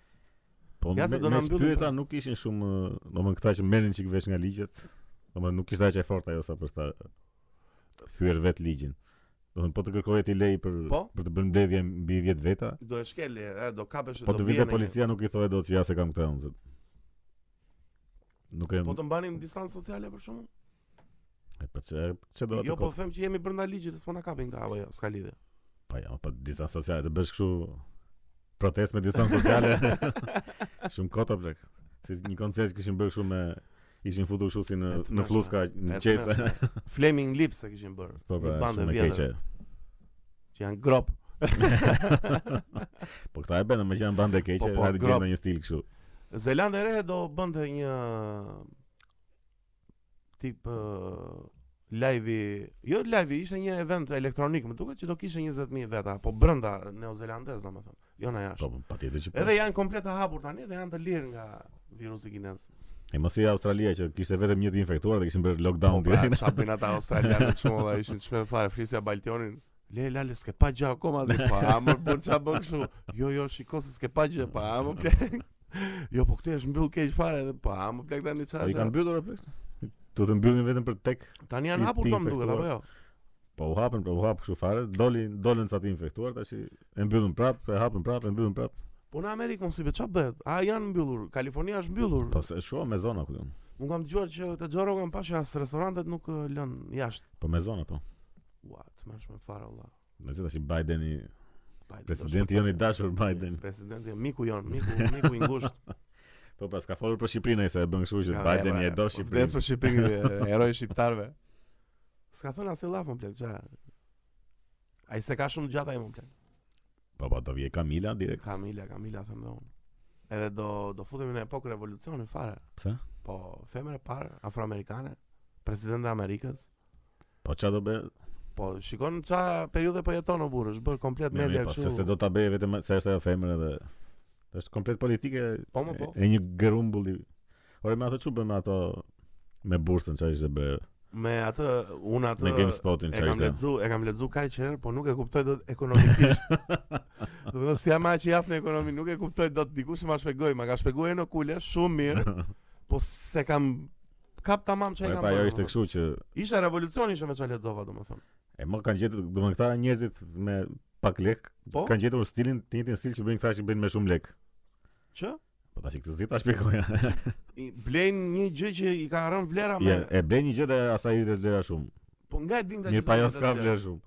A: Po
B: Ja
A: me,
B: se do
A: me
B: na pra. mbyllim
A: pyeta nuk ishin shumë, domethënë këta që merrin çik vesh nga ligjet, domethënë nuk ishte aq e fortë ajo sa për ta thyer vet ligjin. Domethënë po të kërkohet i lej për
B: Po.
A: për të bërë mbledhje mbi 10 veta,
B: Do e shkel, e, do kapesh,
A: po
B: do
A: të
B: bie
A: vinte
B: në një-
A: policia nuk i thohet dot që ja se kam këtë unë. thotë. Nuk e
B: Po të mbanim distancë sociale për shkakun?
A: e, po çe çe do
B: Jo,
A: atë
B: po
A: kohë.
B: them që jemi brenda ligjit, s'po na kapin nga apo jo, s'ka lidhje.
A: Po ja, po disa sociale të bësh kështu protestë me distancë sociale. shumë kota blek. Si një koncert që kishin bërë kështu me ishin futur kështu si në
B: E të
A: në
B: mëshme,
A: fluska
B: e
A: në
B: të
A: çesë.
B: Flaming Lips e kishin bërë.
A: Po
B: një
A: pra,
B: bandë
A: shumë e
B: vjetër
A: keqe.
B: që janë grop.
A: Po këta e bënë, më që janë bandë e keqe,
B: Po, po,
A: hajde
B: grap.
A: gjenë një stil kështu.
B: Zelanda e Re do bënte një tip uh, live, jo live, ishte një event elektronik, më duket që do kishte 20000 veta, po brenda neozelandez domethënë, jo
A: Po,
B: na jashtë.
A: po, pa tjetër që po.
B: Edhe janë komplet të hapur tani dhe janë të lirë nga virusi kinez.
A: E mos si Australia që kishte vetëm një të infektuar dhe kishin bërë
B: Po
A: lockdown
B: pra,
A: direkt.
B: çfarë bëjnë ata australianët shumë dhe ishin çmë fare flisja Baltionin. Le lale s'ke pa gjë akoma dhe pa amër po ç'a bën kështu. Jo jo shiko se s'ke pa gjë pa amër plak. Jo po këtu është mbyll keq fare edhe pa amër plak tani
A: Po i
B: çfarë.
A: kanë mbyllur apo? Do të mbyllin vetëm për tek.
B: Tani
A: i
B: janë hapur
A: ti
B: tom duket
A: infektuar.
B: apo jo?
A: Po u hapën, po u hap kështu fare, dolin dolën sa të infektuar, tash i- e mbyllën prap, e hapën prap, e mbyllën prap.
B: Po në Amerikë mos i be ç'a bëhet? A janë mbyllur? Kalifornia është mbyllur.
A: Po se shua me zona ku. jam.
B: Unë kam dëgjuar që te Joe Rogan pashë as restorantet nuk eh, lën jashtë.
A: Po me zona po.
B: Ua, të mëshme fare valla.
A: Nëse tash i Bideni,
B: Biden,
A: presidenti
B: do
A: jon i
B: shpëtojë.
A: dashur Biden.
B: Presidenti miku jon, miku miku i ngushtë.
A: Po pas ka folur për Shqipërinë ai se e bën kështu që
B: Ja,
A: Bideni
B: ja,
A: e do
B: po Vdes
A: Shqipërinë.
B: për Shqipërinë, heroi shqiptarëve. S'ka thënë asnjë laf më plak, ç'a. Ai se ka shumë gjatë ai më plak.
A: Po po do vje Kamila direkt.
B: Kamila, Kamila them dhe unë. Edhe do do futemi në epokë revolucioni fare.
A: Pse?
B: Po, femër e parë afroamerikane, presidente e Amerikës.
A: Po çfarë do bëj?
B: Po, shikon ça periudhë po jeton o burr, është bërë komplet
A: Mirë,
B: media
A: mirë, Po se se
B: kështu.
A: do ta bëj vetëm se është ajo femër edhe është komplet politike
B: Po, më po.
A: e, e një grumbull i. Ore me ato çu bën me atë me bursën çfarë ishte bre
B: Me atë unë atë
A: me GameSpotin
B: e
A: çfarë
B: kam
A: ishte.
B: lexu, e kam lexu kaq herë, po nuk e kuptoj dot ekonomikisht. Do të thonë si ama që jap në ekonomi, nuk e kuptoj dot dikush më shpjegoi, ma ka shpjeguar në kule shumë mirë, po se kam kap tamam
A: Po
B: çaj kam.
A: pa ajo
B: bërë,
A: ishte
B: domethënë.
A: kështu që
B: Ishte revolucioni që me çfarë lexova domethënë.
A: e më kanë gjetur domethënë këta njerëzit me pak lek
B: Po?
A: kanë gjetur stilin të njëjtin stil që bëjnë këta që bëjnë me shumë lek.
B: Që
A: Po tash këtë zita shpjegoja.
B: i blejnë një gjë që i ka rënë vlera me.
A: Ja, e bën një gjë dhe asaj i vlera shumë.
B: Po nga e din ta
A: Mirë
B: që
A: pa
B: do
A: ajo
B: të
A: s'ka
B: vlerë.
A: vlerë shumë.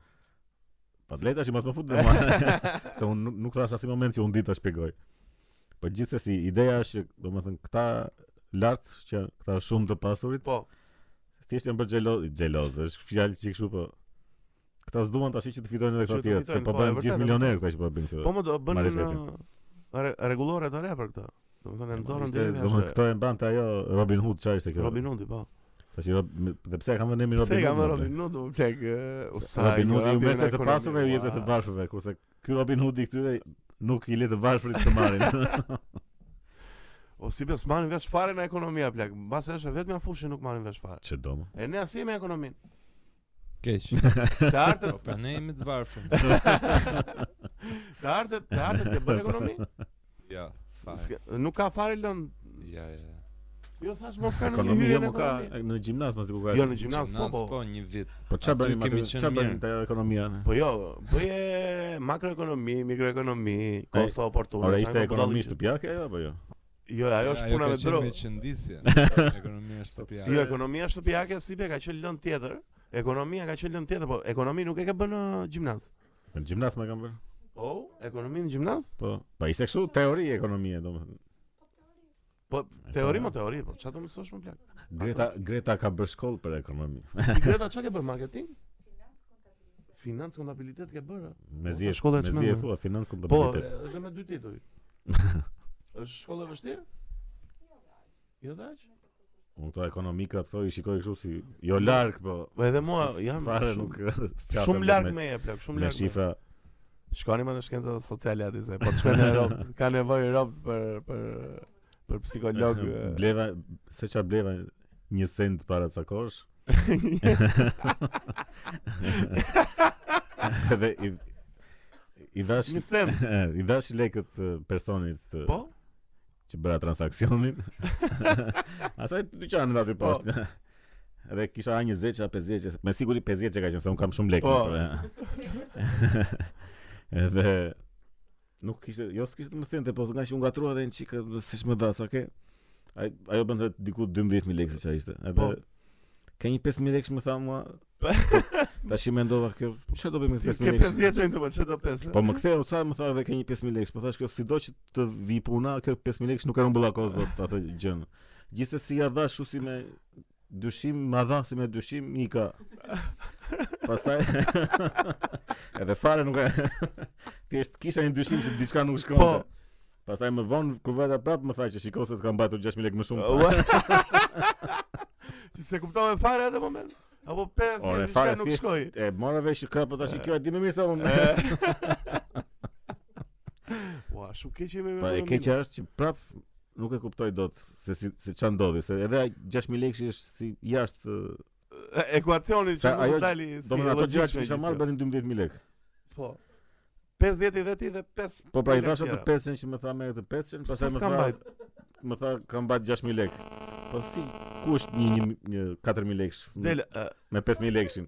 A: Po të lejta që mos më fut dhe mua. se unë nuk, nuk thash asnjë moment që unë di ta shpjegoj. Po gjithsesi ideja është që domethënë këta lart që janë këta shumë të pasurit,
B: Po,
A: thjesht janë bërë xheloz, xheloz, është fjalë që kështu po. Këta s'duan tash që të fitojnë edhe
B: Që
A: këta
B: të
A: tjerë, se
B: fitojnë,
A: po
B: po, e
A: bëhen
B: vërtet, e
A: gjithë milionerë këta që po bëjnë
B: po
A: këtë.
B: më do bën
A: Marrë vetin.
B: rregullore të re për këtë. Domethënë e nxorën
A: Ishte,
B: deri
A: domethënë këto e mbante ajo Robin Hood çfarë ishte kjo?
B: Robin Hood, po.
A: Tash i Rob- dhe pse e kanë vënë emrin
B: Se
A: Robin
B: ka
A: Hood?
B: më
A: më
B: Robin
A: plak?
B: Hood, më plek.
A: Se Robin Hood i merrte të pasurve, i jepte të varfërve, kurse ky Robin Hood i këtyre nuk i le të varfërit të marrin.
B: O si be s'marrin vesh fare në ekonomia plak. Mbas është e vetmja fushë që nuk marrin vesh fare.
A: Çe do më?
B: E ne asim me ekonomin.
C: Keq.
B: Të
C: Po
B: artët,
C: pra ne jemi të varfër.
B: të artët, të artët të bën ekonomi.
C: Ja, fare.
B: S'ka- Nuk ka fare lënë.
C: Ja, ja. ja.
B: Jo thash mos ka në
A: Ekonomia
B: hyrje në
A: më ka
B: ekonomi.
A: në gjimnaz mos e ku ka.
B: Jo në gjimnaz po
C: Gjimnaz,
B: po.
C: po një vit.
A: Po çfarë
C: Aty
A: bëni me
C: kemi
A: atë?
C: qenë
A: Çfarë bëni
C: mirë.
A: te ekonomia? ne?
B: Po jo, bëje makroekonomi, mikroekonomi, kosto oportune.
A: Ora
B: çfarë
A: ishte
B: ka budalliqe.
A: ekonomi shtëpiake ajo apo jo?
B: Jo, ajo është puna me dro.
C: Ajo ka qenë me qëndisje. Ekonomia shtëpiake.
B: Jo, ekonomia shtëpiake si be ka qenë lënë tjetër. Ekonomia ka qenë lënë tjetër, po ekonomi nuk e ka bën në gjimnaz.
A: Në gjimnaz më kam bërë.
B: Po, ekonomi në gjimnaz?
A: Po. Po ishte kështu teori e ekonomie domethënë.
B: Po, teori më teori, po çfarë do mësosh më plak?
A: Greta Greta ka bërë shkollë për ekonomi.
B: Ti Greta çka ke bër marketing? Financë kontabilitet ke bërë? a?
A: Me zi
B: Po, shkolla e
A: me zi
B: çmendme.
A: e thua financë
B: Po,
A: kontabilitet.
B: është me dy tituj. Është shkollë e vështirë? Jo dash?
A: Unë këto ekonomikrat këto i shikoj kështu si jo larg po
B: Po edhe mua jam
A: fare nuk
B: shumë,
A: s'qasem
B: shumë
A: me-
B: larg me e plak, shumë
A: me
B: larg. me.
A: shifra
B: Shkoni më në shkencat sociale aty se po të shkojnë në Europë, ka nevojë Europë për për për psikolog. e,
A: bleva se çfarë bleva një sent para ca kohësh. Edhe i i dash
B: Një send.
A: i dash lekët e, personit e,
B: Po,
A: që bëra transaksionin. Asaj dyqanit aty
B: Po.
A: poshtë. Edhe kisha a 20 a 50, që- me siguri 50 që ka qenë se un kam shumë lekë.
B: Po.
A: për- Edhe nuk kishte, jo s'kishte të më thënë, po nga që u ngatrua edhe një çikë, siç më dha, sa ke. Ai ajo bënte diku 12000 lekë se çfarë ishte. Edhe
B: Po.
A: ka një 5000 lekë që më tha mua.
B: Po.
A: Tash i mendova kjo, çfarë do bëj me
B: ti
A: 5000
B: ke
A: lekë?
B: 50 çajin të po çdo 5.
A: Po më ktheu sa më tha edhe ke një 5000 lekë, po thash kjo sido që të vi puna, kjo 5000 lekë nuk e rumbulla kos dot atë gjën. Gjithsesi ja dha shu si me dyshim, ma dha si me dyshim Mika. Pastaj edhe fare nuk e thjesht kisha një dyshim që diçka nuk shkonte.
B: Po.
A: Pastaj më vonë kur vajta prap më tha që shikoj se të kam mbajtur 6000 lekë më shumë. pra.
B: Ti se kuptove fare atë moment? Apo pe
A: Ore,
B: thjesht
A: fare
B: diçka nuk
A: thjesht-
B: shkoi.
A: E mora vesh që ka po tash kjo e di më mirë se unë.
B: Ua, shumë keq jemi me.
A: Po e
B: ekonominë.
A: keqja është që prap nuk e kuptoj dot se si se ç'a ndodhi, se edhe ai 6000 lekë është si jashtë, ë,
B: E- ekuacioni
A: Se
B: që
A: Pra, ajo-
B: nuk dali si.
A: domethënë ato gjëra që
B: logjikshme
A: kisha
B: gjithë
A: marrë
B: kjo.
A: bënin 12000 lekë.
B: Po. 50 i dhe ti dhe 5.
A: Po pra i
B: lekë
A: thash atë
B: tjera.
A: 500 që më tha merr të 500, pastaj më
B: Sa të kam
A: tha
B: bajt?
A: më tha kam mbajt 6000 lekë. Po si ku është një një, një 4000 lekësh me-
B: Del e,
A: me 5000 lekëshin.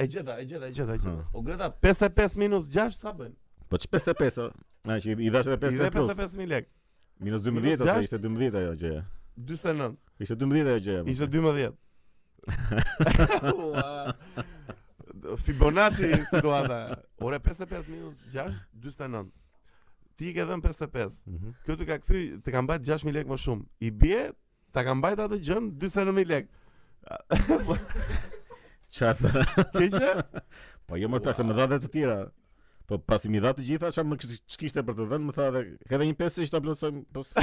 B: e gjeta, e gjeta, e gjeta, e gjeta.
A: Ha.
B: O Greta 55 minus 6 sa bën?
A: Po që 55, o? na që i- i dash edhe
B: I dhe
A: 50 plus.
B: 55000 lekë.
A: Minus 12 ose
B: Minus
A: ishte 12 ajo gjëja.
B: 49.
A: Ishte 12 ajo gjëja. më
B: Ishte
A: thënë.
B: 12. Ua. Fibonacci situata. Ore 55 minus 6 49. Ti i ke dhënë 55.
A: Mhm.
B: Kjo të ka kthy, të ka mbajt 6000 lekë më shumë. I bie, ta ka mbajt atë gjën 49000 lekë.
A: Çfarë? tha?
B: Keqe?
A: pra, Po jo më plak se më dha edhe të tjera. Po Po pasi mi dha të gjitha, çfarë më kish- ç'kishte për të dhënë, më tha edhe ka edhe një pesë që ta plotësojmë, po s-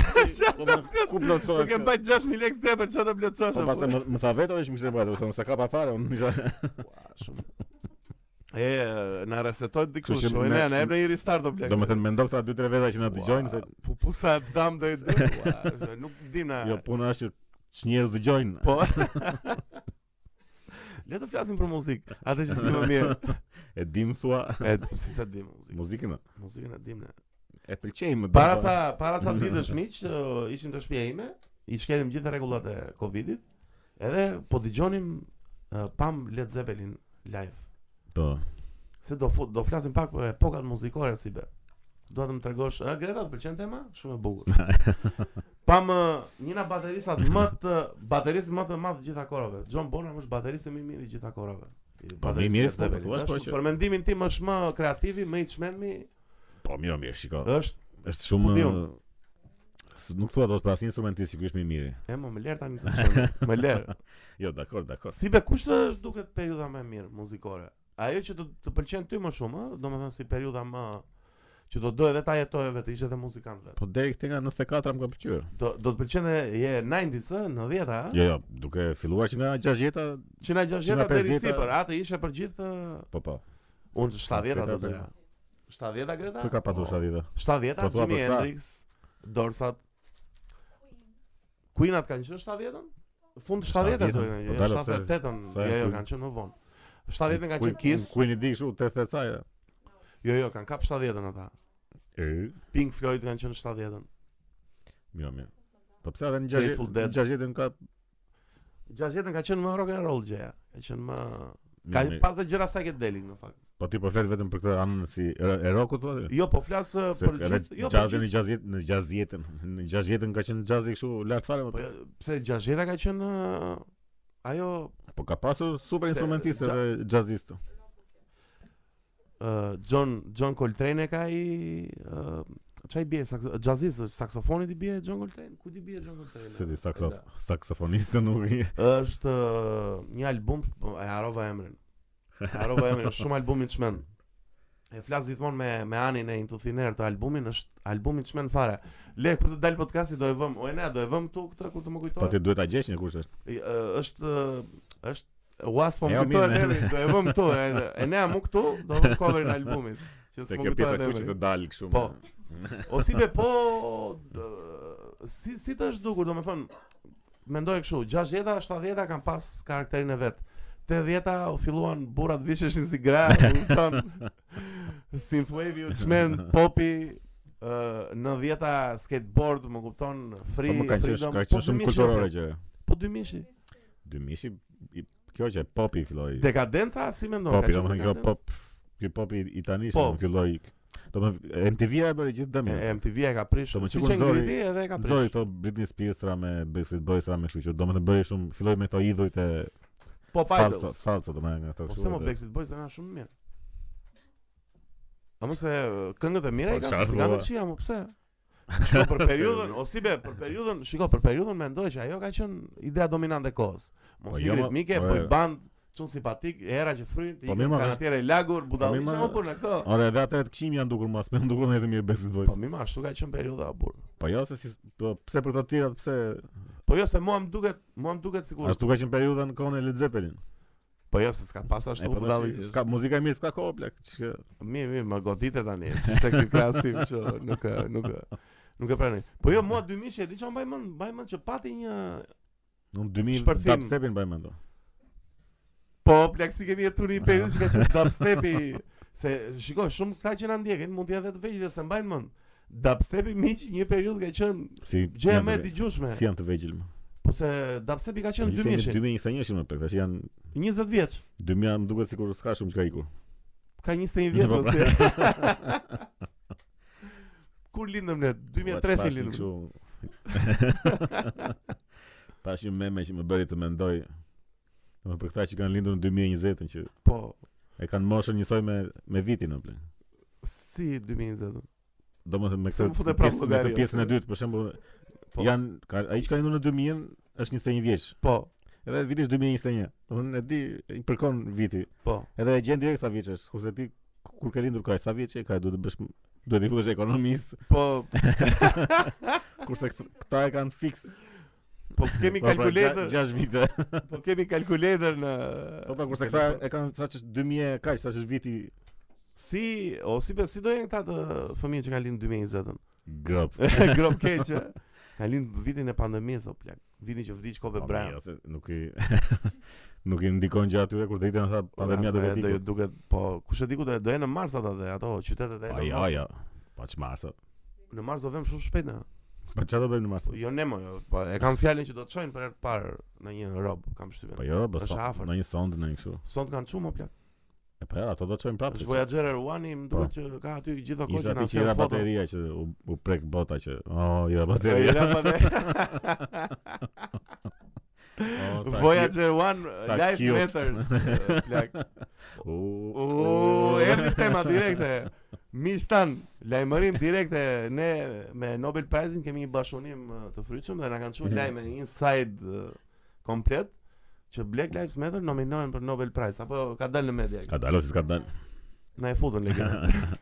A: po më- ku
B: Po
A: plotësohet?
B: ke
A: kjo?
B: mbajt 6000 lekë tepër çfarë do plotësosh?
A: Po
B: apo?
A: pastaj më, më tha vetë që më kishte bërë, thonë se ka pa fare, unë isha
B: Ua, shumë. E, na resetoj dikush,
A: Kështu që
B: o e
A: me-
B: ne, ne jep në i restart o plek.
A: domethënë mendo këta 2-3 veta që na dëgjojnë se
B: Po po sa dam do i dy, ua, nuk dim na.
A: jo puna është që njerëz dëgjojnë.
B: Po. Le të flasim për muzikë. Atë që dimë më mirë.
A: E dim thua
B: E, si sa dim muzikë.
A: muzikën. o.
B: Muzikën e dim ne.
A: E pëlqejmë.
B: Para sa para sa ditësh miq, ë, ishim te shtëpia ime, i shkelim gjithë rregullat e Covidit. Edhe po dëgjonim ë, pam Led Zeppelin live.
A: Po.
B: Se do fut, do flasim pak për epokat muzikore si be. Dua të më tregosh, ë Greta të pëlqen tema? Shumë e bukur. Pam ë, një nga bateristat më të baterist më të madh të gjitha kohërave. John Bonham është bateristi më i mirë i gjitha kohërave. I
A: Po,
B: bateristi
A: më i mirë
B: Led
A: s'po
B: Zeppelin.
A: thuash, po
B: Është-
A: që-
B: Për mendimin tim është më kreativ, më i çmendmi,
A: Po mirë, mirë, shiko.
B: është
A: Është shumë
B: Ku po diun?
A: s- nuk thua dot për asnjë instrumentist sigurisht më i miri.
B: e më më lër tani të çmend. Më lër.
A: Jo, dakor, dakor.
B: Si be kush të duket periudha më e mirë muzikore? Ajo që të, të pëlqen ty më shumë, ë, domethënë si periudha më që do doje edhe ta jetoje vetë, ishe edhe muzikant vetë.
A: Po deri këtej nga 94 më ka pëlqyer.
B: Do do të pëlqen e je 90s, ë, 90-a, ë?
A: Jo, jo, duke filluar që nga 60-ta,
B: Që na 60-ta
A: 150-ta.
B: deri sipër, atë ishe për gjithë
A: po po.
B: ë, unë 70-ta
A: 70-ta.
B: do doja. 70-ta Greta?
A: Ku jo. ka patur
B: Po,
A: 70-ta?
B: 70-ta
A: Po, thua
B: Jimi
A: për këta.
B: Hendrix, Dorsat. Queen-at kanë qenë 70-ën? Fund 70-të,
A: 70-ën,
B: jo,
A: po
B: jo,
A: dalë pse-
B: 78-ën,
A: sa e
B: jo, jo,
A: Queen.
B: kanë qenë më vonë. 70-ën kanë
A: Queen-
B: qenë Kiss,
A: Queen i di kështu te thecaja.
B: jo, jo, kanë kap 70-ën ata.
A: Ë,
B: Pink Floyd kanë qenë 70-ën.
A: mirë, mirë. Po pse edhe në
B: Grateful
A: 60
B: Dead.
A: në 60-ën ka
B: 60-ën ka qenë më rock and roll gjeja. Ka qenë më ka
A: Jo, mirë, mirë.
B: pas dhe gjëra psychedelic në fakt.
A: Po ti po flet vetëm për këtë anën si e e rockut thua? ti?
B: Jo, po flas ë,
A: Se edhe
B: për gjithë, jo, për
A: jazzin në jazzjet në jazzjetën, në jazzjetën ka qenë jazzi kështu lart fare,
B: Po
A: më-
B: jo, pse 60-a ka qenë ë, ajo
A: po ka pasur super
B: Se,
A: instrumentistë
B: ja-
A: dhe jazzistë.
B: ë, John John Coltrane e ka i ë, çai bie saks jazzist, është, saksofonit i bie John Coltrane, ku ti bie John Coltrane?
A: Se di saksof,
B: Da.
A: saksofonistë nuk i.
B: Është ë, një album po, e harova emrin. E Harova emrin, është shumë album i çmend. E flas gjithmonë me me anin e Into Thin Air të albumin, është album i çmend fare. Le kur të dal podcasti do e vëm, o e ne do e vëm këtu këtë kur të më
A: Po
B: kujtohet.
A: ti duhet ta gjesh një kush është.
B: I- ë, është ë, është Uas po
A: Jo,
B: më
A: mirë,
B: kujtohet emri, do e vëm këtu, e- e ne mu këtu, do vëm coverin e albumit. Që
A: Se
B: s'më
A: kjo pjesa
B: kujtohet
A: këtu që të
B: emri.
A: dal kështu.
B: Po. O si be po dë- si si të është dukur, domethënë mendoj kështu, 60-a, 70-a kanë pas karakterin e vet. 80-a u filluan burrat visheshin si gra, u kupton. Synthwave, u çmen, popi, ë, 90-a skateboard, më kupton,
A: Po
B: free,
A: më kanë qenë
B: freedom,
A: ka
B: po
A: qenë shumë
B: 2000
A: kulturore gjëra.
B: Po dy mishi.
A: Dy mishi i- kjo që e popi filloi.
B: Dekadenca si mendon? ka
A: Popi,
B: qenë
A: domethënë kjo
B: dekadencë?
A: pop, ky popi i tanish
B: Po.
A: nuk ky lloj. Domethënë MTV-a e bëri gjithë dëmin.
B: E, MTV e ka prishur.
A: Po, më
B: Si
A: që
B: që
A: Gonzori-
B: ngriti edhe e ka
A: Zori
B: prishur.
A: këto Britney Spears ra me Backstreet Boys ra me kështu që domethënë bëri shumë filloi me këto idhujt e
B: Po
A: falso,
B: Idols.
A: falso domethënë nga ato
B: Po se
A: kështu.
B: mo
A: dhe-
B: Backstreet Boys janë shumë mirë. A mos e këngët e mira
A: Po,
B: i kanë
A: qartë,
B: si kanë
A: valla.
B: të qia, mo pse? Shiko për periudhën, o si be, për periudhën, shiko për periudhën mendoj që ajo ka qenë idea dominante e kohës.
A: Po,
B: Mos i
A: jo, ma-
B: ritmike,
A: po,
B: po
A: e-
B: band, çun simpatik, era që fryn, ti
A: Po, mirë, ma,
B: kanë
A: vesh-
B: atëre lagur, budallish,
A: mirë, ma-
B: po për në këto.
A: Ora edhe atë të këshim janë dukur mas, më dukur në të mirë Backstreet Boys.
B: Po mi ma, ashtu ka qenë periudha burr.
A: Po jo se si po, pse për të tjerat pse
B: Po jo se mua më duket, mua më duket sikur.
A: ashtu ka qenë periudha në kohën e Led Zeppelin.
B: Po jo se s'ka pas
A: E
B: ashtu
A: po
B: budallish.
A: tash ska muzika e mirë s'ka kohë plak. që-
B: Mi, mi, më godite tani. Çishte ky krahasim kështu, nuk e- nuk e- nuk e pranoj. Po jo, mua 2000 e di çfarë mbaj mend, mbaj mend që pati një
A: Në 2000
B: Shpërthim.
A: dubstepin bëjmë mendo.
B: po pleksi kemi jetu një periudhë që ka qenë dubstepi se shikoj shumë këta që na ndjekin mund të jenë edhe të vegjël se mbajnë mend. Dubstepi miq një periudhë ka qenë
A: Si
B: gjëja
A: janë
B: më e
A: të ve-
B: dëgjueshme.
A: Si janë të vegjël më.
B: Po se dubstepi ka qenë 2000
A: 2021 më pak, tash janë
B: 20 vjeç.
A: 2000 janë, më duket sikur s'ka shumë çka ikur.
B: Ka 21 vjet
A: Po,
B: ose. Kur lindëm ne? 2003
A: Pas- pas një
B: lindëm.
A: kështu- Pas një meme që më bëri të mendoj do për këta që kanë lindur në 2020-ën që
B: Po,
A: e kanë moshën njësoj me me vitin apo.
B: si 2020?
A: Domethënë me
B: Pse
A: këtë
B: më
A: pjesë-
B: futet prapë
A: me këtë
B: llogaria,
A: pjesën e
B: se-
A: dytë, për shembull,
B: Po.
A: janë ka, ai që ka lindur në 2000 është 21 vjeç.
B: Po,
A: Edhe viti është 2021. Domethënë e di i përkon viti.
B: po.
A: Edhe e gjen direkt sa vjeç është, kurse ti kur ke lindur kaj, sa vjeç e ka, duhet të bësh duhet të fillosh ekonomist,
B: Po,
A: kurse kët- këta e kanë fiks.
B: po kemi
A: Po, pra,
B: kalkuletër,
A: 6 vite.
B: po kemi kalkuletër në
A: Po pra kurse këta e kanë sa ç'është 2000 e kaq, sa ç'është viti
B: si o si be- si do janë këta të fëmijë që kanë lindur 2020-ën.
A: gop.
B: Grop keq. ë? Kanë lindur vitin e pandemisë o plak. Vitin që vdiq Kobe
A: Po,
B: Bryant.
A: ose nuk i nuk i ndikon gjatë atyre kur ditën tha pandemia Po, do
B: Asa,
A: vetë.
B: Do ju duket, po kush e di ku do do jenë në mars ata dhe ato qytetet e
A: Po
B: në
A: ja,
B: mars.
A: ja. Po çmarsa.
B: Në mars do vëm shumë shpejt ne.
A: Po çfarë do bëjmë në mars?
B: Po, Jo ne më, jo, po e kam fjalën që do të çojnë për herë të parë në një rob, kam
A: Po
B: shtypën.
A: jo, po
B: Është
A: sa
B: afër.
A: në një sound në një kështu.
B: Sot kanë çumë o plak.
A: E po ja, ato do çojmë prapë.
B: Është Voyager Air One, më duket që ka aty gjitha
A: Ishte aty
B: kohë na
A: që era
B: sjell foto.
A: bateria që u, u prek bota që oh, era
B: E,
A: bateria.
B: Era bateria.
A: Oh, sa
B: Voyager 1
A: sa
B: Life
A: cute.
B: Matters. e, Plak.
A: ki- U,
B: U, erdhi tema direkte. Miq tan, lajmërim direkte ne me Nobel Prize-in kemi një bashkëpunim uh, të frytshëm dhe na kanë
A: Mhm.
B: thënë lajme inside uh, komplet që Black Lives Matter nominohen për Nobel Prize apo ka dalë në media.
A: Ka dalë ose s'ka dalë?
B: Na e futën legjendën.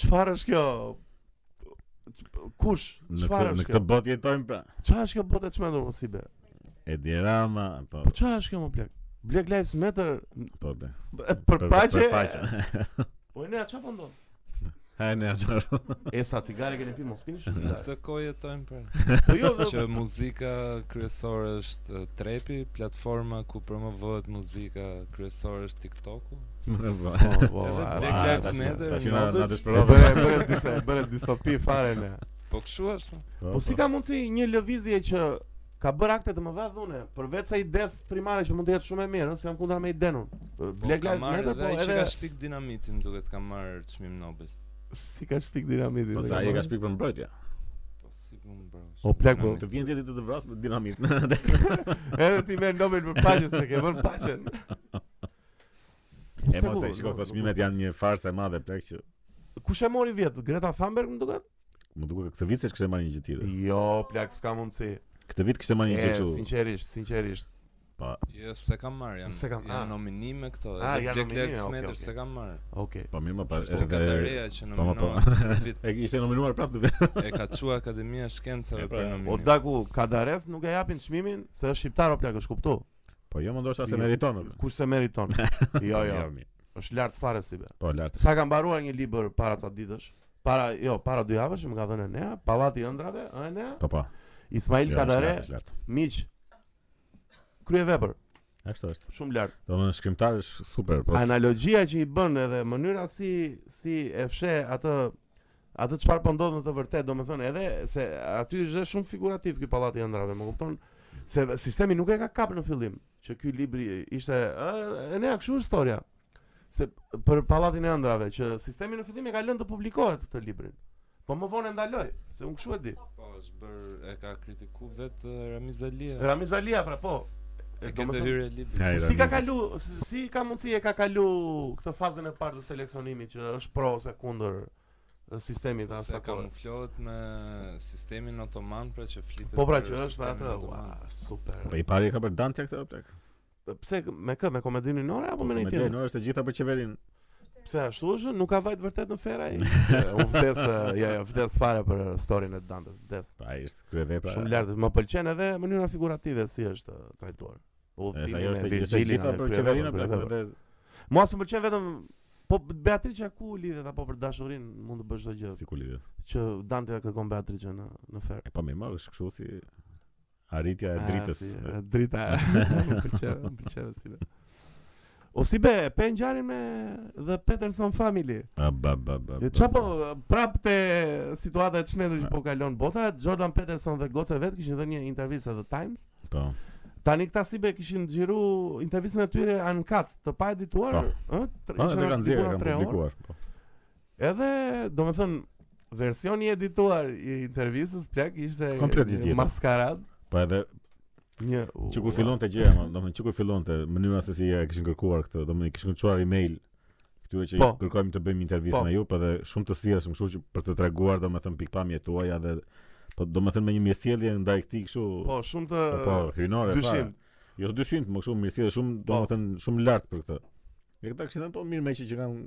B: Çfarë është kjo? Kush?
A: Në këtë,
B: Çfarë
A: në
B: është
A: këtë
B: kjo?
A: botë jetojmë pra.
B: Çfarë është kjo botë e çmendur mos i be?
A: Edi Rama, po
B: Po çfarë është kjo më plak? Black Lives Matter n-
A: po bre.
B: për paqe.
A: paqe.
B: Po ne çfarë po ndodh?
A: Ha ne çfarë?
B: E sa cigare keni pi mos pini
C: Në
B: shumë.
C: këtë kohë jetojmë pra.
B: Po jo, do-
C: që muzika kryesore është eh, trepi, platforma ku promovohet muzika kryesore është TikToku.
A: Po.
B: Po, po,
C: Edhe
B: a-
C: Black
B: a-
C: Lives
B: tash-
C: Matter,
A: Tash na
C: Nobel.
A: na dëshpërova.
B: Bëre bëre disa- bëre distopi fare ne.
C: Po kështu është.
B: Po si ka mundsi një lëvizje që ka bërë akte të mëdha dhune, përveç sa ides primare që mund të jetë shumë e mirë, ëh, se jam kundra me idenun.
C: Po,
B: Black
C: ka
B: Lives
C: marrë
B: Matter po
C: edhe ai që
B: edhe
C: ka shpik dinamitin duket ka marrë çmim Nobel.
B: si ka shpik dinamitin.
A: Po
B: e
A: sa ai e ka
B: marrë.
A: shpik për mbrojtje.
C: Po si pun bro.
B: O, plak, po,
A: Të vjen 10 ditë të vras me dinamit.
B: Edhe ti merr Nobel për paqen se ke vënë paqen.
A: E mos e shikoj këto çmimet janë një farsë e madhe plak që
B: Kush e mori vjet? Greta Thunberg më duket?
A: më duket këtë vit se kishte marrë një gjë tjetër.
B: Jo, plak, s'ka mundsi.
A: Këtë vit kishte marrë një gjë
B: E,
A: kështu.
B: sinqerisht, sinqerisht.
A: Po,
C: Jo, se kam marrë, janë,
B: Se kam- ah.
C: janë nominime këto,
B: Ah,
C: edhe
B: janë
C: Black
B: nominime,
C: Lives
B: okej,
C: Matter
B: okej.
C: se kam marrë.
B: Okej.
A: po mirë, më pa.
C: Kështu se ka të reja që
A: po, po.
C: nominohen këtë vit.
A: E ishte nominuar prapë të vetë.
C: E ka çu Akademia e Shkencave
A: E, pra,
C: për
B: O
C: nominim.
B: daku Kadares nuk e japin çmimin se është shqiptar o plak, është kuptu.
A: Po jo, më ndoshta se
B: Jo.
A: meriton. o,
B: Kush se meriton?
C: Po,
B: Jo, jo.
A: mirë.
B: Është lart fare si be.
A: Po lart.
B: Sa ka mbaruar një libër para ca ditësh? Para, jo, para dy javësh më ka dhënë Enea, Pallati i Ëndrave, ë, Enea,
A: Po po.
B: Ismail
A: Jo,
B: Kadare,
A: është lart.
B: miq. Kryevepër,
A: Ashtu është.
B: shumë lart.
A: Domethënë shkrimtar është super, po. s-
B: Analogjia që i bën edhe mënyra si si e fshe atë atë çfarë po ndodh në të vërtetë, domethënë edhe se aty është dhe shumë figurativ ky pallati i ëndrave, më kupton? Se sistemi nuk e ka kap në fillim, që ky libri ishte ë ne kështu është historia. Se për pallatin e ëndrave që sistemi në fillim e ka lënë të publikohet këtë librin. Po më vonë e ndaloi, se unë kështu e di.
C: Po, është bër e ka kritiku vetë eh, Ramiz Alia.
B: Ramiz Alia pra po.
C: E
B: do më
C: këtë
B: thënë-
C: hyrje libri.
A: Ai,
B: Po si ka
A: Ramizes.
B: kalu, si- si ka mundësi e ka kalu këtë fazën e parë të seleksionimit që është pro ose kundër e, sistemit
C: Po
B: as
C: se
B: apo.
C: kamuflohet me sistemin otoman, pra që flitet.
B: Po pra
C: për
B: që është
C: sistemin
B: atë,
C: otoman.
B: ua, super.
A: Po i pari e ka për Dante këtë o, plak.
B: Pse k- me kë, me komedinë nore apo me
A: me
B: një
A: drejtë,
B: tjetër?
A: në është e gjitha për qeverin.
B: Pse ashtu është? Nuk ka vajt vërtet në fera ai. Se Unë vdes, e, jo, jo, vdes fare për storyn e Dantes, vdes.
A: Pa, ai është kryevepra.
B: Shumë lart, më pëlqen edhe mënyra figurative si është e, trajtuar.
A: Është ajo
B: Udhëtimi Po me
A: është e gjitha- është e
B: Virgjilin,
A: gjitha
B: ajo
A: për
B: krye
A: qeverinë, pra,
B: vepër,
A: plak.
B: krye vepër.
A: Edhe
B: Mua s'm pëlqen vetëm Po Beatrice ku lidhet apo për dashurinë mund të bësh çdo gjë.
A: si kulidhë.
B: që Dante ja kërkon Beatrice në në fer.
A: E po mirë, më është kështu si arritja e dritës.
B: Ah, Si, e drita. Më pëlqeu, më pëlqeu si. be. O si be, pe ngjarin me The Peterson Family.
A: A ba ba ba.
B: E po?
A: ba,
B: çapo
A: ba.
B: prapë te situata e çmendur që po kalon bota, Jordan Peterson dhe goca e vet kishin dhënë një intervistë në The Times.
A: Po.
B: Tani këta si be kishin xhiru intervistën e tyre uncut, të pa edituar, ë? tre-
A: Po,
B: ishin
A: edhe kanë
B: dikuar
A: nxjerrë, kanë
B: tre orë.
A: publikuar. Po.
B: Edhe, do me thënë, versioni edituar i intervistës plak ishte
A: Komplet i
B: një
A: tjetër.
B: maskarad.
A: Po edhe
B: Një,
A: që kur fillonte gjëja, më- domethënë që kur fillonte mënyra se si e kishin kërkuar këtë, domethënë kishin kërkuar email këtyre që
B: Po.
A: kërkojmë të bëjmë intervistë
B: Po.
A: me ju, po edhe shumë të sillshëm, kështu që për të treguar domethënë pikpamjet tuaja dhe po domethënë me një mirësjellje ndaj këtij kështu.
B: Po, shumë të
A: po, po, hynore.
B: dyshim.
A: fare. Jo dyshim, më shumë mirësi dhe shumë
B: Po.
A: domethënë shumë lart për këtë. E këta kështu po mirë me që që kanë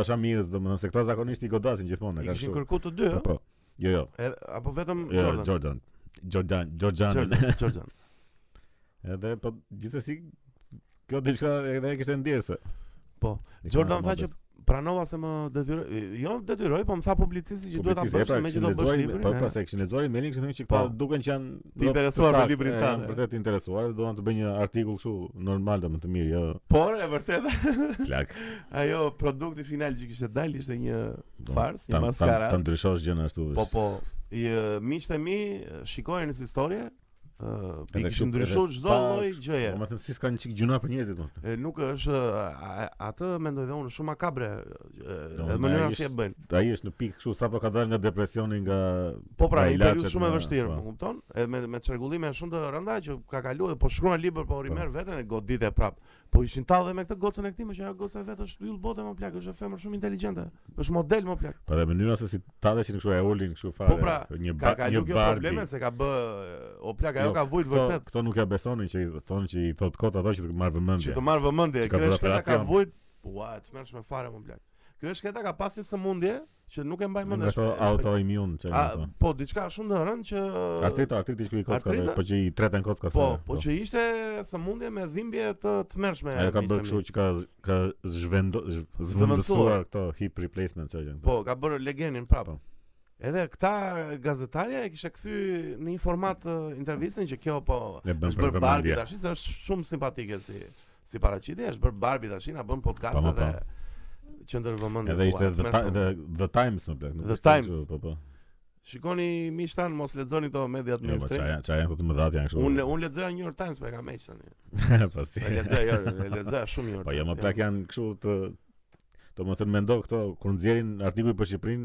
A: dashamirës, domethënë se këta zakonisht i godasin gjithmonë, e
B: I
A: kanë kështu.
B: kishin kërku të dy,
A: Po,
B: ë?
A: Po. Jo, jo.
B: Edhe- apo vetëm
A: Jo,
B: Jordan.
A: Jordan. Jordan, Jordan.
B: Jordan, Jordan.
A: Edhe po gjithsesi kjo diçka edhe e kishte ndjerse.
B: Po,
A: Diçka
B: Jordan tha
A: modet.
B: që pranova se më detyroi, jo më detyroi, po më tha publicisti që duhet ta
A: Publicist, e
B: bësh,
A: pra,
B: me që
A: kishin
B: do bësh
A: lexuar i-
B: librin.
A: Po,
B: e.
A: pra se kishin lexuar emailin, kishin thënë që këta
B: Po.
A: dukenë që janë
B: Të interesuar me librin
A: tënd.
B: tënd, e.
A: Janë vërtet interesuar, dhe duan të bëjnë një artikull kështu normal domethënë të mirë, jo
B: Por e vërteta,
A: plak.
B: ajo produkti final që kishte dalë ishte një
A: Do-
B: fars,
A: ta-
B: një
A: ta-
B: maskara.
A: Ta ndryshosh gjën ashtu.
B: Po
A: s-
B: po, i e, miqtë e mi e, shikojnë si historie, ë i
A: Edhe kështu,
B: kishin ndryshuar
A: edhe
B: çdo
A: pa-
B: lloj gjëje.
A: Po më thënë si s'ka një çik gjuna për njerëzit më.
B: E, Nuk është e, a- atë mendoj dhe unë shumë makabre e,
A: Do,
B: e,
A: na
B: mënyra
A: ish-
B: si e bëjnë.
A: Ai është në pikë kështu sapo ka dalë nga depresioni nga
B: Po pra,
A: Nga
B: një periudhë
A: ilaçet,
B: shumë e
A: nga-
B: vështirë,
A: po.
B: më kupton? E me me çrregullime shumë të rënda që ka kaluar, po shkruan libër, po i
A: Po.
B: merr veten e godit e prap. Po ishin tallë me këtë gocën e këtij, më që ajo goca vetë është yll botë më plak, është e femër shumë inteligjente. Është model më plak.
A: Po dhe mënyra se si tadeshin kështu e ulin kështu fare.
B: pra,
A: një
B: Ka
A: ba, një
B: kaluar kjo
A: bardi.
B: probleme se ka bë o plak ajo
A: Jo,
B: ka vujt
A: Këto,
B: vërtet.
A: këto nuk e besonin që i thonë që i thot kot ato që të marr
B: Që
A: vëmendje.
B: të marr vëmendje,
A: Që ka
B: kjo
A: bërë
B: është këta ka
A: operacion.
B: vujt. Ua, të merresh me fare më plak. Kjo është këta ka pasur sëmundje që nuk e mbaj mend.
A: Nga ato
B: është- është-
A: autoimmune që
B: A,
A: janë ato.
B: po diçka shumë të rëndë që
A: Artrita, artriti që i kocka,
B: artrita?
A: dhe- po që i treten kocka.
B: Po,
A: fare,
B: po që ishte sëmundje me dhimbje të tmerrshme.
A: Po, Ajo ka
B: miqtë
A: bërë
B: e mi.
A: kështu që ka ka zhvendo zh-
B: Zëvendësuar.
A: zëvendësuar këto hip replacement që janë.
B: Po, ka bërë legenin prapë.
A: Po.
B: Edhe këta gazetarja e kishe kthy në një format uh, intervistën që kjo po
A: E bën
B: është
A: për
B: bërë Barbie
A: vëmendje.
B: tash, se është shumë simpatike si si paraqitje, është bërë Barbie tash, na bën
A: Po,
B: podcast
A: po, po.
B: edhe qendër vëmendje.
A: Edhe ishte
B: thua,
A: the,
B: atmeshme.
A: ti- the, the Times më plak. nuk
B: The
A: ishte
B: Times.
A: kështu, Po po.
B: Shikoni miq tan, mos lexoni këto media të
A: Jo, po
B: mainstream.
A: çaja, çaja këto të mëdhat janë kështu.
B: Unë unë lexoja New York Times, po e kam heq tani.
A: po si.
B: E lexoja, jo, e lexoja shumë New York
A: Po jo, më
B: Times,
A: plak janë kështu të Do më thënë mendo këto kur nxjerrin artikuj për Shqipërinë,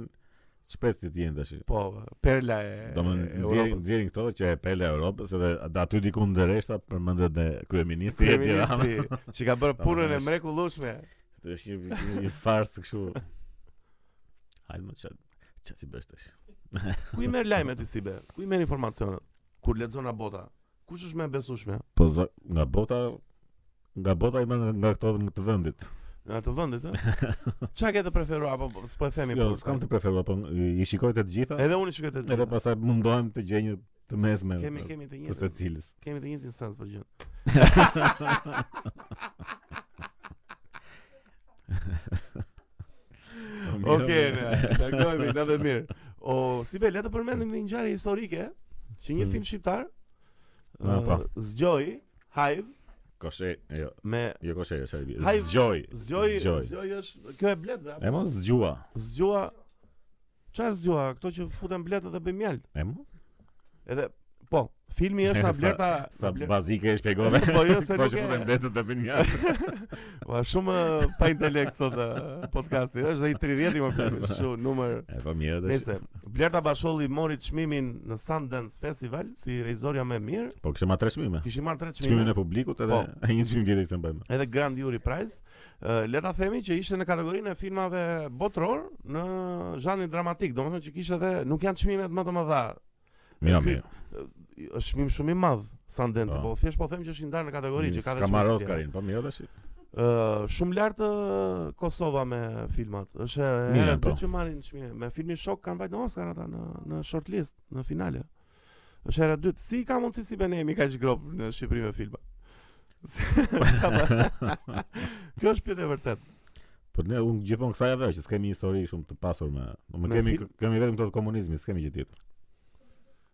A: shpresë ti të jenë tash.
B: Po, perla e
A: Do më
B: e
A: nxjerrin
B: Europës.
A: nxjerrin këto që e pele e Europës edhe ad- aty diku ndëreshta përmendet dhe kryeministri e Tiranës.
B: Feministi që ka bërë punën e
A: është-
B: mrekullueshme.
A: Kjo Është një, një farsë kështu. Hajde më çat. Çat si bësh tash.
B: Ku i merr lajmet ti si be? Ku i merr informacionet? Kur lexon a bota? Kush është më e besueshme?
A: Po za- nga bota nga bota i merr nga këto në të vendit.
B: Në atë vendit, ë? Çka ke të preferuar apo po, s'po e themi
A: Jo,
B: po,
A: s'kam të preferuar, po i shikoj të gjitha.
B: Edhe unë shikoj të
A: Edhe
B: gjitha.
A: pastaj mundohem të gjej një të mesme
B: Kemi kemi të
A: të
B: njëjtën.
A: secilës.
B: Kemi të njëjtin sens për gjë. Okej, dakojmë, na dhe mirë. O, si be, le të përmendim një ngjarje historike që një
A: Mm.
B: film shqiptar
A: Ah,
B: ë,
A: po.
B: zgjoi Hive
A: Koshe, jo,
B: me
A: jo koshe, jo çaj.
B: Haj-
A: Zgjoj.
B: zgjoi
A: Zgjoj.
B: zgjoi është kjo e blet
A: E
B: apo
A: mo zgjua.
B: zgjua çfarë zgjua këto që futen bletë dhe bëjnë mjalt.
A: E mo
B: Edhe po, filmi është na
A: Sa-
B: blerta
A: sa bazike e shpjegove.
B: Po jo se
A: Kto
B: nuk
A: që
B: e.
A: futem mbetët të bin jashtë.
B: Ua shumë eh, pa intelekt sot eh, podcasti. Është ai 30 i më plot, kështu numër.
A: E po mirë tash.
B: Nëse Blerta Basholli mori çmimin në Sundance Festival si regjizorja më e mirë,
A: Po kishim atë çmime.
B: kishim marrë 3
A: Çmimin
B: çmime.
A: e publikut edhe
B: Po.
A: e një çmim tjetër ishte mbajmë.
B: Edhe Grand Jury Prize, Ë, le ta themi që ishte në kategorinë e filmave botror në zhanrin dramatik, domethënë që kishte edhe nuk janë çmimet më të mëdha.
A: Mirë,
B: Ky-
A: mirë.
B: Është çmim shumë i madh Sundance,
A: Po.
B: po thjesht po them që është i ndarë në kategori që ka
A: Ska
B: dhe
A: marrë
B: çmime të tjera.
A: Oscarin, po mirë tash.
B: Ë, shumë lart ë, Kosova me filmat. Është e
A: Mirë,
B: hera e
A: po.
B: dytë që marrin çmime. Me filmin Shok kanë vajtë në Oscar ata në në shortlist, në finale. Është hera e dytë. Si ka mundësi si bëne jemi kaq grop në Shqipëri me filma? Çfarë- Kjo është pyetë e vërtet.
A: Po ne unë gjithmonë kësaj javë që s'kemi histori shumë të pasur me. Do
B: Me
A: më kemi
B: film?
A: kemi vetëm këto të komunizmit, s'kemi gjë tjetër.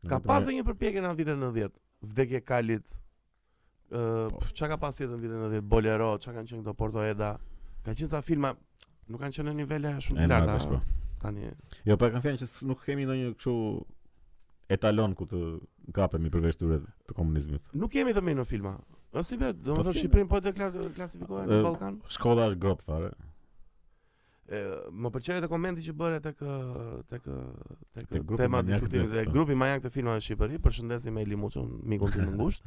B: Ka
A: Vetëm
B: pasur një përpjekje në vitet 90, vdekje e Kalit. Ë, pf, çka ka pas tjetër në vitet 90? Bolero, çka kanë qenë këto Porto Eda. Ka qenë ca filma nuk kanë qenë në nivele shumë
A: e
B: të
A: marrë vesh, po.
B: larta tani.
A: Jo, po e kanë thënë që s- nuk kemi ndonjë kështu etalon ku të kapemi përveç tyre të komunizmit.
B: Nuk jemi të mirë në filma. Ë si bet,
A: Po
B: domethënë
A: si
B: Shqipërinë po e dekla- klasifikohet në
A: Ë,
B: Ballkan.
A: Shkolla është grop fare.
B: Ë, Më pëlqeu edhe komenti që bëre tek ë, tek ë, tek
A: Tek
B: ë,
A: grupi
B: tema
A: manjak
B: diskutimit
A: dhe-
B: dhe grupi manjak të filmave në Shqipëri. Përshëndesim Eli Muçun, mikun tim të ngushtë.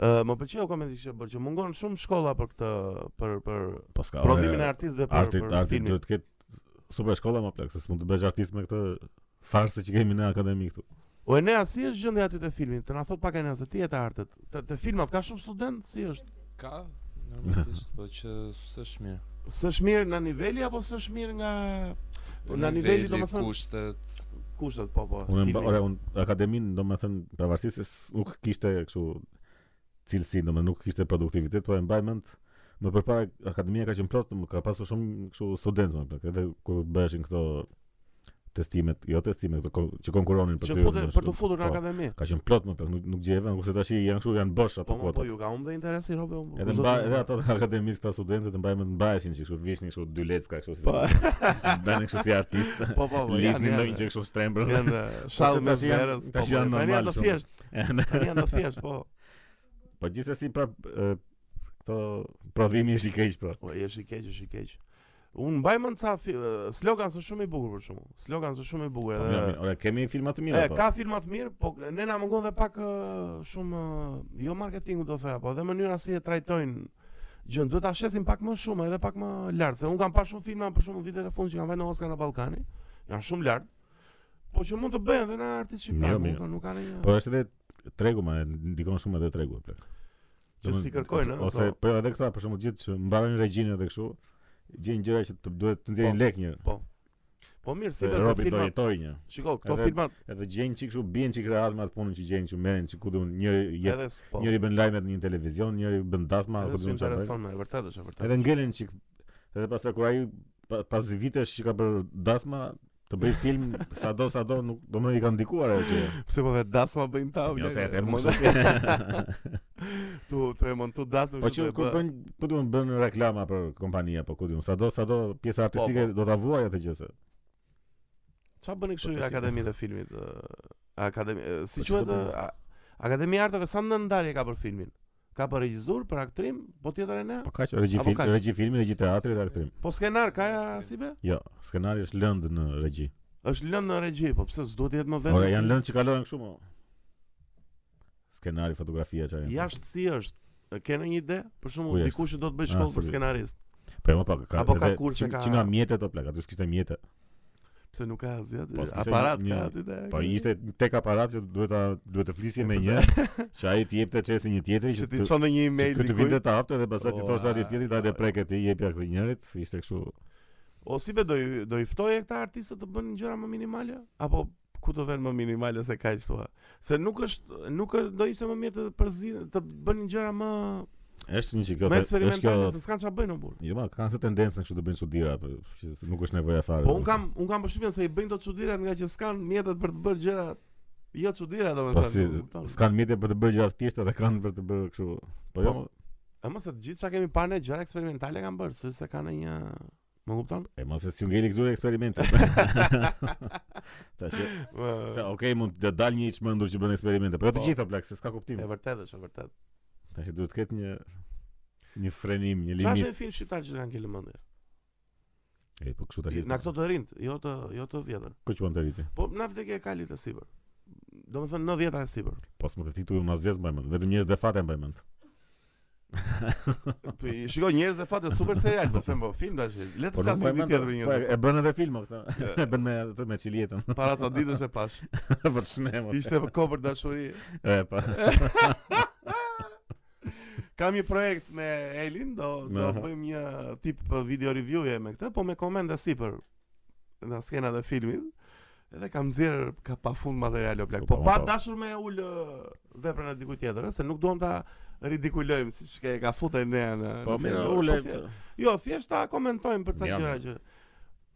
B: Ë, Më pëlqeu komenti që bërë që mungon shumë shkolla për këtë për për
A: Po ska.
B: prodhimin Pra e
A: ore,
B: artistëve për
A: arti
B: për
A: arti
B: filmin.
A: duhet të ketë super shkolla më plak, se s'mund të bësh artist me këtë farse që kemi në akademi këtu.
B: O e nea, si është gjendja aty te filmi? Të na thot pak e nea se ti e te artët. Te, te filmat ka shumë student, si është?
C: Ka normalisht, po që s'është mirë.
B: S'është mirë nga niveli apo s'është mirë nga Po, nga niveli, domethënë-
C: kushtet.
B: kushtet po po.
A: Unë mba,
B: filmi.
A: ora, unë akademin, do me thënë, pavarësisht se s- nuk kishte kështu cilësi, do me nuk kishte produktivitet, po e mbaj mend më përpara akademia ka qenë plot, më ka pasur shumë kështu studentë më plot, edhe kur bëheshin këto testimet, jo testime, këto kon- që konkuronin për
B: që
A: po dy,
B: futet
A: më
B: për të
A: shumë.
B: futur në
A: Po,
B: akademi.
A: Ka qenë plot më plot, nuk, nuk gjeve, kurse tash janë kështu janë bosh ato
B: Po po, po
A: kuota.
B: ju ka humbë interesi robe. unë-
A: Edhe
B: zotë
A: mba,
B: më-
A: edhe ato akademistë këta studentët e mbajnë mbaheshin që kështu vishin kështu dy lecka kështu si.
B: Po.
A: Bënin kështu si artistë.
B: Po po, po. janë,
A: Lidhin
B: janë.
A: ndonjë gjë kështu shtrembër.
B: Janë shallë
A: Ose
B: me
A: tash janë-
B: verës. po,
A: tash
B: po,
A: janë
B: tani
A: normal
B: janë të
A: shumë.
B: thjesht. Tani janë të thjesht, po.
A: Po gjithsesi pra e, këto prodhimi është i keq pra.
B: Po, është i keq, është i keq. Unë mbaj mend ca fi- eh, slogan është shumë i bukur për shkakun. Slogan është shumë i bukur
A: Po,
B: edhe
A: mirë, Ora kemi filma të mira
B: E,
A: po.
B: ka filma të mirë, po ne na mungon dhe pak eh, shumë eh, jo marketingu do thoya, po dhe mënyra si e trajtojnë gjën. Duhet ta shesim pak më shumë, edhe pak më lart, se un kam parë shumë filma për shumë vitet e fundit që kanë vënë Oscar në Ballkani, janë shumë lart. Po që mund të bëjnë edhe në artistë
A: Mirë,
B: shqiptar, nuk
A: mirë.
B: nuk kanë një.
A: Po është edhe tregu më ndikon shumë edhe tregu plak.
B: Që si kërkojnë, ë,
A: ose
B: po.
A: po edhe këta për shembull gjithë që mbarojnë regjinë edhe kështu gjejnë gjëra që të duhet të nxjerrin
B: Po.
A: lek një.
B: Po mirë, si
A: Se
B: besoj
A: Robi do
B: filma.
A: jetoj një.
B: Shiko, këto
A: Edhe-
B: filma
A: Edhe gjejnë çik kështu bien çik rehat me atë punën që gjejnë që merren që ku duan njëri jep.
B: edhe po.
A: Njëri bën lajmet në një televizion, njëri bën dasma,
B: Edhe
A: ku
B: s'u
A: duan çfarë. bëjnë.
B: intereson më, e vërtet është e vërtet.
A: Edhe ngelen çik. Edhe pastaj kur ai pa- pas vitesh që ka bërë dasma të bëj film sado sado nuk do më i ka ndikuar ajo që.
B: Pse po dhe dasma bëjnë ta?
A: Jo
B: blerë,
A: se e them
B: mos-
A: kështu.
B: Tu tu e mund tu dasmë.
A: Po që kur bën, po duan bën reklama për kompani apo ku diun, sado sado pjesa
B: Po,
A: artistike do ta vuaj atë gjë se.
B: Çfarë bëni kështu
A: Po, tash i
B: akademitë e filmit? ë, Akademi, ë, si
A: Po, që
B: quhet?
A: do bëjmë?
B: ë, a- Akademia e Arteve sa në ndarje ka për filmin? Ka për regjisor, për aktrim, po tjetër e ne?
A: Po kaq regji
B: Apo
A: film,
B: kaq?
A: regji filmi, regji teatri dhe aktrim.
B: Po skenar ka ja si be?
A: Jo, skenari është lënd në regji.
B: Është lënë në regji, po pse s'duhet të jetë më vetëm?
A: Ora janë lënd që kalojnë kështu mo. Skenari, fotografia çfarë janë.
B: Jashtë si është? E Ke ndonjë ide? Për
A: Ku
B: shembull,
A: jashtë?
B: dikush që do të bëj
A: Ah,
B: shkollë për
A: serios.
B: skenarist,
A: Po më pak ka.
B: Apo ka
A: edhe
B: kurse,
A: që-
B: ka-
A: që nga mjetet o plak, aty s'kishte mjete.
B: pse nuk ka asgjë aty.
A: Po, s'kishte
B: Aparat
A: një-
B: ka aty te.
A: Po ishte tek aparat që duhet ta duhet të flisje me një, që ai të jepte çesë një tjetri
B: që
A: që
B: ti çon një
A: që
B: email
A: ky të vinte
B: dikujt.
A: ta hapte dhe pastaj ti
B: O,
A: thosh atij
B: a,
A: tjetrit, hajde
B: po.
A: preket ti jepja këtë njërit, ishte kështu.
B: O si be do i- do i ftoje këta artistë të bënin gjëra më minimale apo ku do vënë më minimale se kaq thua? Se nuk është nuk është do ishte më mirë të përzi të bënin gjëra më
A: Është një çikë, Jo,
B: më
A: është kjo.
B: eksperimentale se s'kan çfarë bëjnë në burr.
A: Jo, ma kanë këtë tendencën kështu të bëjnë çuditëra, po që se nuk është nevoja fare.
B: Po un kam un kam përshtypjen se i bëjnë dot çuditërat nga që s'kan mjetet për të bërë gjëra jo çuditëra
A: po si
B: domethënë. kupton?
A: s'kan mjete për të bërë gjëra të thjeshta, dhe kanë për të bërë kështu. Po jo,
B: E mos se të gjithë çka kemi parë ne gjëra eksperimentale kanë bërë, se se kanë një Më kupton?
A: e mos e sjungeli këtu eksperimente. Tash
B: Ë,
A: se okay mund të dal një i çmendur që bën eksperimente, po jo të
B: Po.
A: gjitha plak, se s'ka kuptim.
B: E vërtetë është, e vërtetë.
A: Tash duhet të ketë një një frenim, një
B: Çfarë është
A: limit.
B: një film shqiptar që të kanë kelë mendje?
A: E po kështu tash.
B: Na këto të rinjt, jo të jo të vjetër.
A: ku quan të rritë.
B: Po na vdekje e kalit e sipër. Do më thënë 90 e sipër.
A: Po s'më të tituj mas zez mbaj mend, vetëm njerëz defate mbaj mend.
B: Po i- shiko njerëz e fatë super serial, po them po film tash. Le të
A: Po nuk
B: flasim
A: mbaj
B: ditë
A: mend.
B: tjetër për
A: Po
B: njerëz.
A: e- e bën edhe filma këta. E bën me atë me çiljetën.
B: Para sa ditësh e pash.
A: Po të shnemë.
B: Ishte për kopër dashuri.
A: E po, pa.
B: Kam një projekt me Elin, do do
A: Aha.
B: bëjmë një tip video review-je me këtë, po me komente sipër në skenat e filmit. Edhe kam nxjerr ka pafund material o plak.
A: Po,
B: Po
A: po,
B: pa
A: po.
B: dashur me ul ë, veprën e dikujt tjetër, ë, se nuk duam ta ridikulojmë siç ke ka futur ne në.
A: Po
B: në
A: mirë,
B: film.
A: ule.
B: thje- Jo, thjesht ta komentojmë për ca
A: Mirë.
B: gjëra që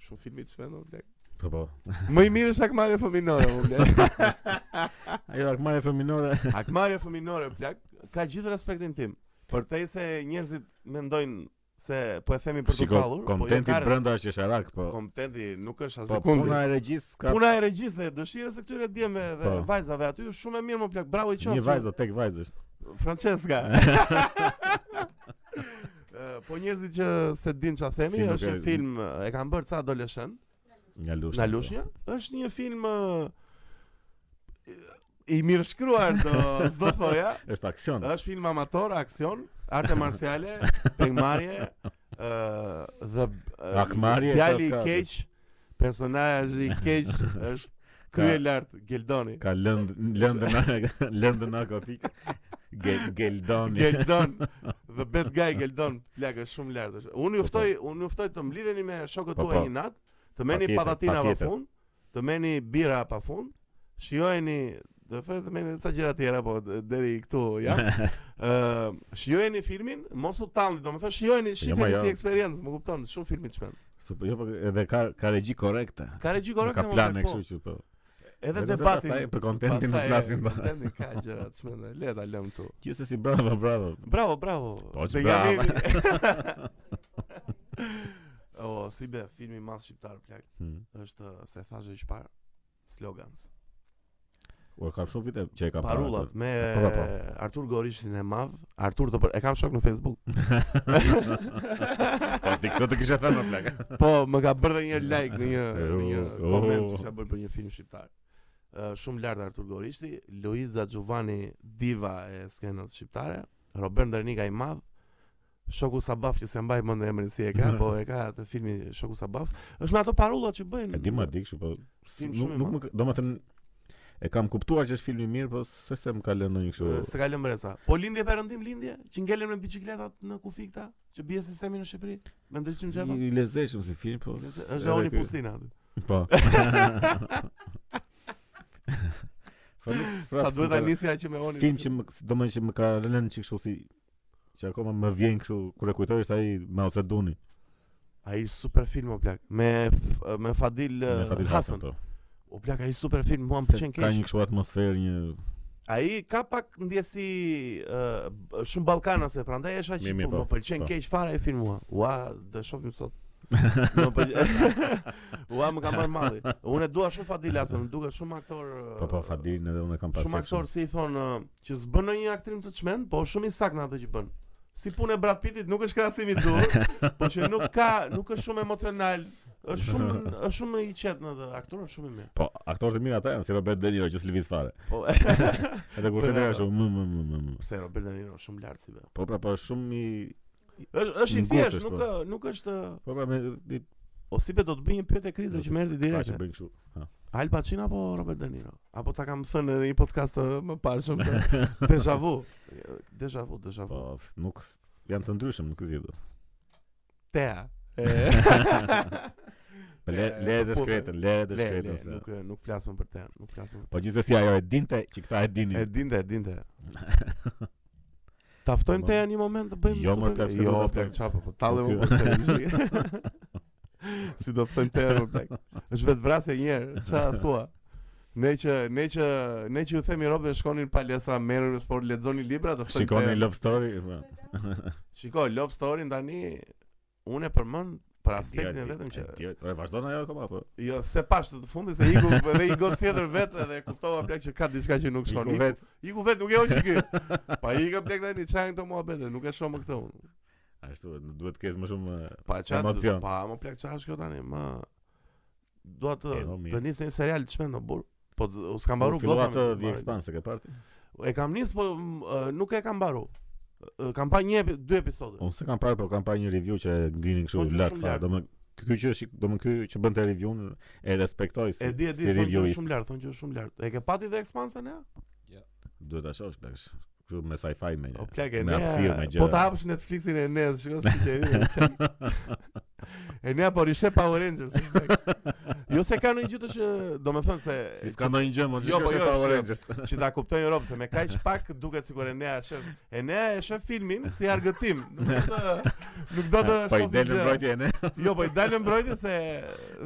B: shumë filmi të shpendon blek.
A: Po po.
B: Më i mirë është akmarja fëminore, u blek.
A: Ajo akmare feminore.
B: akmarja fëminore blek ka gjithë respektin tim. Për te se njerëzit mendojnë se po e themi për të
A: Shiko,
B: pallur, po jo
A: kontenti
B: ka res-
A: brenda është që sharak, po.
B: kontenti nuk është as
A: Po
B: sekondë.
A: puna e regjis ka
B: Puna e regjisë dhe dëshirës së këtyre djemve dhe
A: Po.
B: vajzave aty është shumë e mirë më plak. Bravo i qoftë. jo?
A: një vajzë tek vajzë është.
B: Francesca. Eh, po njerëzit që se din çfarë themi,
A: Si nuk
B: është
A: e-
B: një film eh, e kanë bërë ca adoleshent
A: Nga Lushnja.
B: Nga Lushnja është një film ë, i mirë shkruar do s'do thoja.
A: po. Është aksion.
B: Është film amator, aksion, arte marciale, pengmarrje, ë dhe ë,
A: Akmarrje,
B: Djali i
A: çfarë ka?
B: keq, personazhi i keq është krye lart, Geldoni.
A: Ka lënd lëndë na lëndë narkotik. Ge- Geldoni.
B: Geldon The bad guy Geldon plagë shumë lart është. Unë ju
A: Po, po.
B: ftoj, unë ju ftoj të mlidheni me shokët
A: Po,
B: tuaj
A: po.
B: një natë, të merrni
A: Patjetër,
B: patatina pa
A: patjetër.
B: fund, të merrni bira pa fund, shijojeni do të thotë me sa gjëra tjera po d- deri këtu ja. Ë, shijojeni filmin, mos u talni, domethënë shijojeni, shihni
A: jo.
B: si eksperiencë, më kupton, shumë filmin çmend.
A: Se po jo po edhe ka ka regji korrekte.
B: Ka regji
A: Nuk
B: korrekte
A: Ka plane kështu që po.
B: Edhe
A: Vetëm se
B: debati.
A: pastaj për kontentin nuk flasim
B: ta.
A: ta.
B: Kontenti ka gjëra të çmenda, le ta lëm këtu.
A: Gjithsesi bravo, bravo.
B: Bravo, bravo.
A: Po, që
B: Benjamini. o, si be, filmi i madh shqiptar plak
A: Hmm.
B: është uh, se thashë që parë slogans.
A: Ua ka shumë vite që e ka parë
B: Parullat
A: atë.
B: me
A: Po, po, po.
B: Artur Gorishin e madh, Artur të për, e kam shok në Facebook.
A: Po ti këtë të kisha thënë më plak.
B: po, më ka bërë dhe një like në një në një
A: Oh,
B: koment
A: oh.
B: që ka bërë për një film shqiptar. Ë, shumë lart Artur Gorishti, Luiza Giovanni diva e skenës shqiptare, Robert Ndërnika i madh, Shoku Sabaf që se mbaj mend emrin si e ka, po e ka të filmi Shoku Sabaf. Është me ato parullat që bëjnë.
A: E di ma di kështu po.
B: Film
A: Nuk
B: shumë i
A: nuk
B: madh.
A: më ka- domethënë e kam kuptuar që është film i mirë, po s'është se më ka lënë ndonjë
B: Ë,
A: kështu.
B: S'ka lëmë breza. Po lindje perëndim lindje, që ngelen me biçikletat në kufi këta, që bie sistemi në Shqipëri, me ndriçim xhepa.
A: I lezeshëm si film, po.
B: Është
A: edhe
B: oni
A: ky.
B: pustina aty.
A: Po. Po nuk
B: Sa
A: s'prap,
B: duhet
A: s'm
B: ta
A: ka-
B: nisja që me oni.
A: Film që më domethënë që më ka lënë që kështu si që akoma më vjen kështu kur e kujtoj është ai Mao Zedongi
B: Ai super film o plak me f- me Fadil,
A: me
B: eh,
A: Fadil
B: Hasan.
A: Hasan. po.
B: O plak ai super film, mua më
A: Se
B: pëlqen
A: Ka një
B: keq.
A: kështu atmosferë një
B: Ai ka pak ndjesi eh, b- shumë ballkanase, prandaj është aq
A: Mi, mi,
B: po, më
A: po,
B: pëlqen
A: po.
B: keq fare ai film mua. Ua, do shohim sot. Më pëlqen. Ua, më ka marrë malli. Unë e dua shumë Fadil Hasan, më duket shumë aktor. eh,
A: po po Fadilin edhe unë e kam pasur.
B: Shumë aktor si i thon eh, që s'bën ndonjë aktrim të çmend, po është shumë i saktë në atë që bën. Si punë e Brad Pittit nuk është krahasimi i dur, po që nuk ka, nuk është shumë emocional, është shumë është shumë i qetë në atë, aktor është shumë i mirë.
A: Po, aktorët e mirë ata janë si Robert De Niro që s'lëviz fare.
B: Po
A: Edhe kur
B: Bravo.
A: thotë kështu më më më më. më.
B: pse Robert De Niro është shumë lart si be.
A: Po pra, po shumë i
B: Është është i
A: Ngurt
B: thjeshtë,
A: është,
B: nuk
A: po.
B: eh, nuk është eh,
A: po pra me i-
B: o si be do të bëj një pyetje krize që më erdhi
A: ta që
B: direkt.
A: bëjnë kështu. Ha.
B: Al Pacino apo Robert De Niro? Apo ta kam thënë në një podcast eh, më parë shumë të- deja vu. Deja vu, deja vu.
A: Po, f- nuk s- janë të ndryshëm, nuk e di. do.
B: Tea.
A: Po le
B: E,
A: le të
B: po, po,
A: shkretën, le të
B: Le, le,
A: shkretën. se-
B: nuk eh, nuk flasim për te, nuk flasim për te.
A: Po gjithsesi ajo e dinte që këta e dinin.
B: E dinte, e dinte. Ta ftojmë
A: Po,
B: te një moment të bëjmë
A: Jo, mor,
B: super-
A: plak, se
B: jo,
A: do ta
B: plak
A: ftojmë.
B: çapa, po tallem
A: Ky-
B: po Si do ftojmë te më plak. Është vetë vrasje një herë, ç'a thua? Ne që ne që ne që ju themi robë shkonin në palestra, merrni në sport, lexoni libra, do ftojmë.
A: Shikoni
B: te-
A: Love Story. po.
B: Shiko Love Story tani unë e përmend për aspektin e
A: Ti-
B: vetëm që
A: ti- Po e vazhdon ajo akoma po.
B: jo se pash të fundit se iku edhe i gos tjetër vetë edhe e kuptova plak që ka diçka që nuk shkon.
A: Iku
B: Iku-
A: vet.
B: Iku vetë nuk e hoqi ky. Pa i ka blek tani çan këto muhabete, nuk e shoh më këto unë.
A: Ashtu, nuk duhet të kesh më shumë e,
B: Pa çan,
A: Emocion.
B: pa më plak çan kjo tani, më dua të
A: E, no, mirë.
B: të nis një serial çmend në burr. Po z- u s'kam mbaru
A: U fillova
B: me
A: të
B: këtë
A: The
B: marrë.
A: Expanse e ke parë? ti?
B: E kam nis po m, e, nuk e kam mbaru. E, Kam pa një epi- dy episode.
A: Unë se kam parë, po kam parë një review që e ngrini
B: Po,
A: kështu
B: që
A: lart
B: shumë
A: fare.
B: lart.
A: Domethënë ky që shik- domethënë ky që bën të review e respektoj si,
B: E di, e di,
A: si
B: thonë që është
A: reviewist.
B: shumë lart, thonë që është shumë lart. E ke pati dhe ekspansa ne?
A: Duhet ta shohësh plakësh. Kështu me sci-fi me.
B: O Po, plak e
A: me
B: ne.
A: hapësirë, me
B: Po
A: gjëra.
B: ta hapësh Netflixin e ne, shikoj si ke. E ne po rishe Power Rangers. është plak. Jo se ka ndonjë gjë të që, domethënë se
A: Si s'ka ndonjë gjë, më
B: Jo, po,
A: jo,
B: jo,
A: Power
B: shef.
A: Rangers.
B: që ta kuptojnë Europë, se me kaq pak duket sikur Enea e shef. Enea e shef filmin si argëtim. Nuk do të nuk do të
A: Po i
B: shohë
A: del në
B: gjëra.
A: mbrojtje e ne.
B: Jo, po i dalë mbrojtje se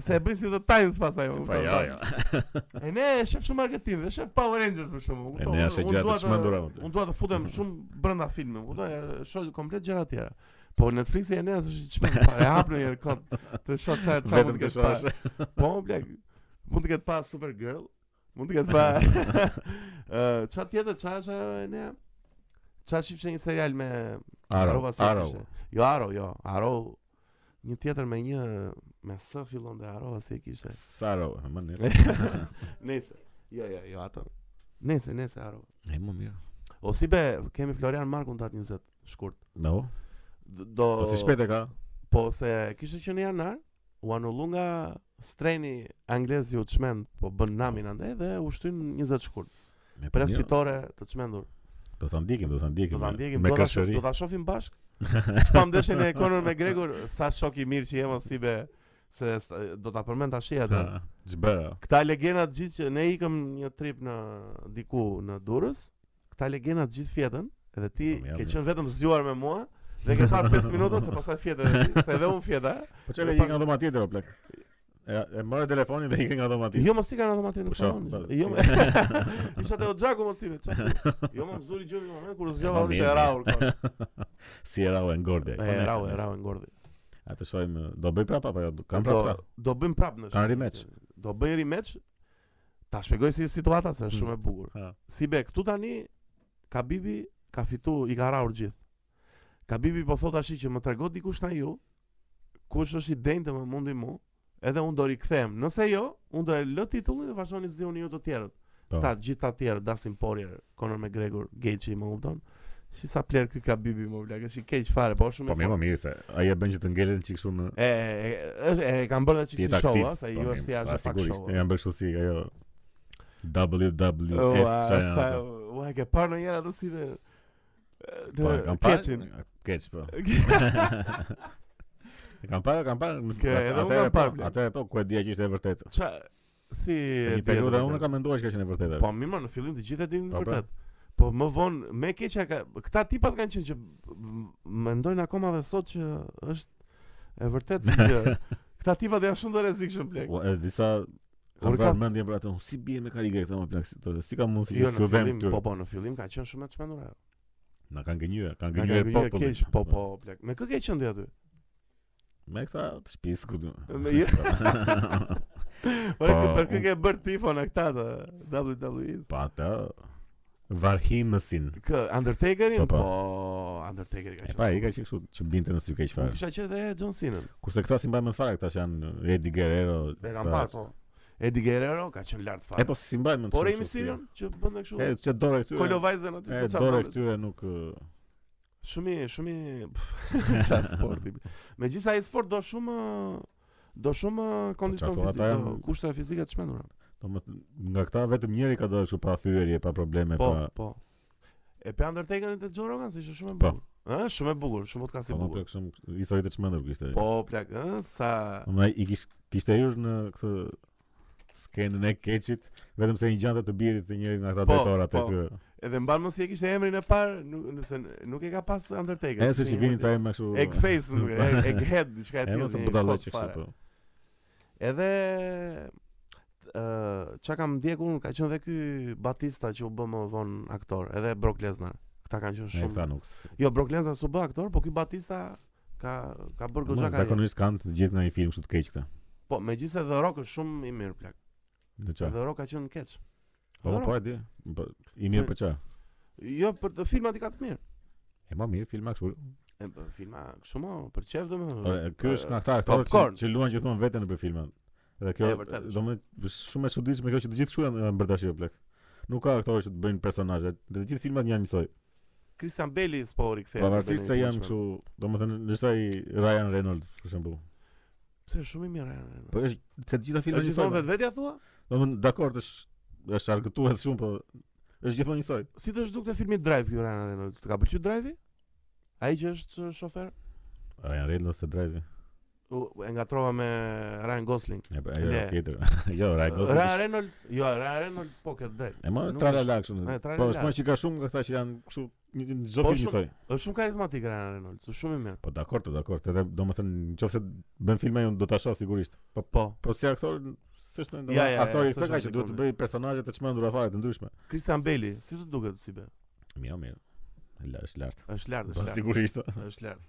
B: se e bën si The Times pastaj. më
A: Po
B: kupton?
A: jo, jo.
B: Enea e shef shumë argëtim dhe shef Power Rangers për shkakun.
A: Enea është gjëra të çmendura, më plak.
B: Unë dua të futem shumë brenda filmit, më kupton? E Shoh komplet gjëra të tjera. Po Netflixi e Eneas është çmendur fare. Hap në një kod të shoh çfarë çfarë
A: Vetëm
B: mund
A: të
B: ketë parë.
A: shohësh.
B: Po, më blek. Mund të ketë pa Supergirl, mund të ketë pa ë çfarë tjetër, çfarë është ajo e ne? Çfarë shifshe një serial me
A: Arrow,
B: Arrowa se
A: arrow.
B: kishte? Jo Arrow, jo, Arrow. Një tjetër me një me S fillon dhe Arrowa si e kishte.
A: Saro, më ne.
B: Nëse. Jo, jo, jo, ato. Nëse, nëse Arrow.
A: E më mirë.
B: O si be, kemi Florian Markun datë 20 shkurt.
A: No.
B: D- Do
A: Po si shpejt e ka?
B: Po se kishte që në janar u anullu nga streni anglez ju
A: Po.
B: çmend, po bën namin andaj dhe u shtyn 20 shkurt.
A: E, po
B: Pres
A: mirë.
B: fitore të çmendur.
A: Do ta ndjekim, do ta ndjekim.
B: Do ta
A: me-
B: ndjekim,
A: me
B: do ta shoh-
A: kashëri.
B: do ta shohim bashk. Siç pa ndeshjen e Conor McGregor, sa shok i mirë që jema si be se sta- do ta përmend tash atë.
A: Ha, Ç'bëra?
B: Këta legenda të gjithë që ne ikëm një trip në diku në Durrës, këta legenda të gjithë fjetën, edhe ti
A: Po, mirë,
B: ke
A: mirë.
B: qenë vetëm zgjuar me mua dhe ke parë 5 minuta se pastaj fjetë, se edhe un fjeta.
A: Po çka i nga dhoma tjetër o plak. E, e morë telefonin dhe ikën nga dhoma tjetër.
B: Jo mos i kanë ato matë në
A: Po, shoh,
B: salon.
A: po,
B: Jo.
A: si-
B: më- Isha te Oxhaku mos i me. çfarë? Jo më zuri gjumi në moment kur zgjova
A: Po,
B: unë
A: mirë,
B: ishte e
A: mirë.
B: rau.
A: Si era u ngordje. Po
B: E rau, e rau ngordi.
A: Atë shohim, do bëj prapa apo jo? Do- Kam prapa.
B: Do- Pra, Do bëjmë prapë në.
A: Kanë
B: shkollë.
A: rematch.
B: Do bëj rematch. Ta shpjegoj si situata se është
A: Hmm.
B: shumë e bukur.
A: Ha.
B: Si be, këtu tani Kabibi ka fitu, i ka raur gjithë. Kabibi po thot tash që më tregot dikush na ju, kush është i denjtë më mundi mu, edhe unë do rikthehem. Nëse jo, unë do e lë titullin dhe vazhdoni zihuni ju të tjerët.
A: Po.
B: Ta gjithë ta tjerë, Dustin Poirier, Conor McGregor, Gaethje, më kupton? Shi sa player ky Kabibi më vlaq, është i keq fare, po është shumë
A: Po
B: i
A: mirë, po
B: fortë.
A: mirë se ai e bën që të ngelen çik shumë në
B: E, e, është e, e kanë bërë edhe çik
A: tjetë
B: si show,
A: aktiv.
B: a, se
A: Po, mirë,
B: UFC është
A: pa,
B: e pak
A: sigurisht,
B: show.
A: e kanë bërë kështu si ajo
B: O,
A: WWF
B: a,
A: çfarë janë
B: sa,
A: ato?
B: o, e ke parë në njëra të si dhe...
A: Po, e kam parë. Keq po. E kam parë, kam parë.
B: Ke, edhe unë
A: Atëherë
B: kam
A: po,
B: parë, bler.
A: atëherë po ku e dia që ishte e vërtetë.
B: Qa, si...
A: Se Një
B: dihet
A: periudhë
B: e
A: unë
B: vërtet?
A: kam menduar që ka qenë e vërtetë.
B: Po, mirë, në fillim të gjithë e dinë
A: Po,
B: të
A: pra.
B: vërtet. Po, më vonë, me keqja ka... Këta tipat kanë qenë që m- mendojnë akoma dhe sot që është e vërtet si që... Këta tipat janë shumë të rrezikshëm plek.
A: Po, edhe disa
B: Kur
A: Kam
B: ka-
A: vrarë mendjen për atë, unë si bie me karige këta më plak, si- thotë, si ka mundësi
B: Jo,
A: që
B: në
A: s'u them
B: fillim,
A: këtu.
B: po, po, në fillim ka qenë shumë e çmendur ajo.
A: Na kanë gënjur, kanë
B: Ka
A: gënjur
B: gënjur
A: popullin.
B: keq, po, po, plek. Me kë ke qenë ti aty?
A: Me këta të shtëpisë këtu.
B: Me- jo. Po,
A: Po,
B: për kë
A: unë-
B: ke bërë tifon a këta të WWE?
A: Po ata varhimësin.
B: Kë, Undertakerin?
A: Po, po.
B: Po, Undertakeri ka
A: E
B: qenë.
A: pa, i
B: super.
A: ka qenë kështu që binte në sy keq
B: Unë
A: fare.
B: kisha qenë dhe John Cena.
A: Kurse këta si mbajnë më të fare, këta që janë Eddie Guerrero.
B: E kam
A: këta-
B: parë po. Eddie Guerrero ka qenë lart fare.
A: E po si mbajnë më të
B: Por
A: shumë
B: Rey
A: kështu, si
B: Mysterio që bënte
A: jo.
B: kështu.
A: E që dore këtyre.
B: Kolo vajzën aty
A: E
B: se çfarë.
A: dore
B: bënte.
A: këtyre nuk ë,
B: Shumë i- shumë i- ça sporti. Megjithëse ai sport do shumë do shumë kondicion
A: ato
B: fizik,
A: Po, ata
B: do
A: janë-
B: kushte fizike të çmendura.
A: do më thënë, nga këta vetëm njëri ka dorë kështu pa thyerje, pa probleme,
B: Po,
A: pa.
B: po. E pe Undertakerin te Joe Rogan se ishte shumë e
A: Po.
B: bukur. Ëh, shumë e bukur, shumë podcast i
A: Po më
B: bukur.
A: plak shumë histori të çmendur kishte.
B: Po, plak, ëh, sa
A: Më i kish, kishte hyrë në këtë skenën e keqit, vetëm se një gjante të birit të njërit nga këta
B: Po,
A: drejtorat e
B: po.
A: tyre.
B: Edhe mban mos i kishte emrin e parë, nuk nëse nuk e ka pas Undertaker.
A: E se që vinin ca e më kështu.
B: Egg face më duket, egg- egg head diçka e
A: E
B: tillë.
A: mos të
B: jo, një
A: budallë
B: kot
A: që kështu
B: fare.
A: po.
B: Edhe ë çka kam ndjekur unë ka qenë dhe ky Batista që u bë më vonë aktor, edhe Brock Lesnar. Këta kanë qenë
A: E
B: shumë.
A: këta nuk.
B: Jo, Brock Lesnar s'u bë aktor, po ky Batista ka ka bërë goxha
A: Po, Ma,
B: karrierë.
A: Zakonisht kanë të gjithë nga një film kështu të keq këta.
B: Po, megjithëse The Rock është shumë i mirë plak.
A: Në
B: Dhe
A: çfarë?
B: The Rock ka qenë keq.
A: Po
B: The
A: po, po
B: Rock-
A: e di. Po i mirë për çfarë?
B: Jo, për të filmat i ka të mirë.
A: E më mirë filma kështu.
B: E, për filma kështu më për çef
A: Ore,
B: domethënë.
A: ky është nga këta aktorët që,
B: popcorn.
A: që luan gjithmonë veten nëpër filma. Dhe kjo,
B: E, vërtet është.
A: domethënë shumë e çuditshme kjo që të gjithë kështu janë bërë tash plak. Nuk ka aktorë që të bëjnë personazhe. Dhe të gjithë filmat janë njësoj.
B: Christian Bale po rikthehet.
A: Pavarësisht
B: në
A: se
B: filmin
A: janë
B: shumë.
A: kështu, domethënë ndërsa i Ryan Reynolds për shembull.
B: Pse është shumë i mirë. e,
A: Po është të gjitha
B: Është
A: filmat
B: gjithmonë
A: njësoj.
B: vetvetja thua?
A: Domethënë dakor është është argëtues shumë, po është gjithmonë njësoj.
B: Si të zhduk të filmi Drive kjo Ryan Reynolds? Të ka pëlqyer Drive-i? Ai që është uh, shofer?
A: Ryan Reynolds të drejtë.
B: U, e ngatrova me Ryan Gosling.
A: E pra, ajo
B: Le.
A: tjetër. Jo, Ryan Gosling.
B: Ryan
A: është-
B: Reynolds, jo, Ryan Reynolds po këtë drejt.
A: E më është
B: Nuk
A: tralala kështu.
B: e,
A: Po
B: tralala.
A: është më që ka shumë nga këta që janë kështu një një- çdo
B: Po,
A: film
B: shumë-
A: njësoj.
B: Është shumë karizmatik Ryan Reynolds, është shumë i mirë.
A: Po dakor, të dakor. Edhe domethënë nëse bën filma unë do ta shoh sigurisht. Po
B: Po,
A: po si aktor s'është ndonjë
B: Ja, ja, ja,
A: aktori këtë
B: s'është
A: ka
B: asnjë
A: që duhet të
B: kombi.
A: bëj personazhe të çmendura fare të ndryshme.
B: Christian Bale, si të duket si be?
A: Mirë, mirë. La, është lart.
B: Është lart,
A: Po
B: është lart.
A: sigurisht.
B: Është lart.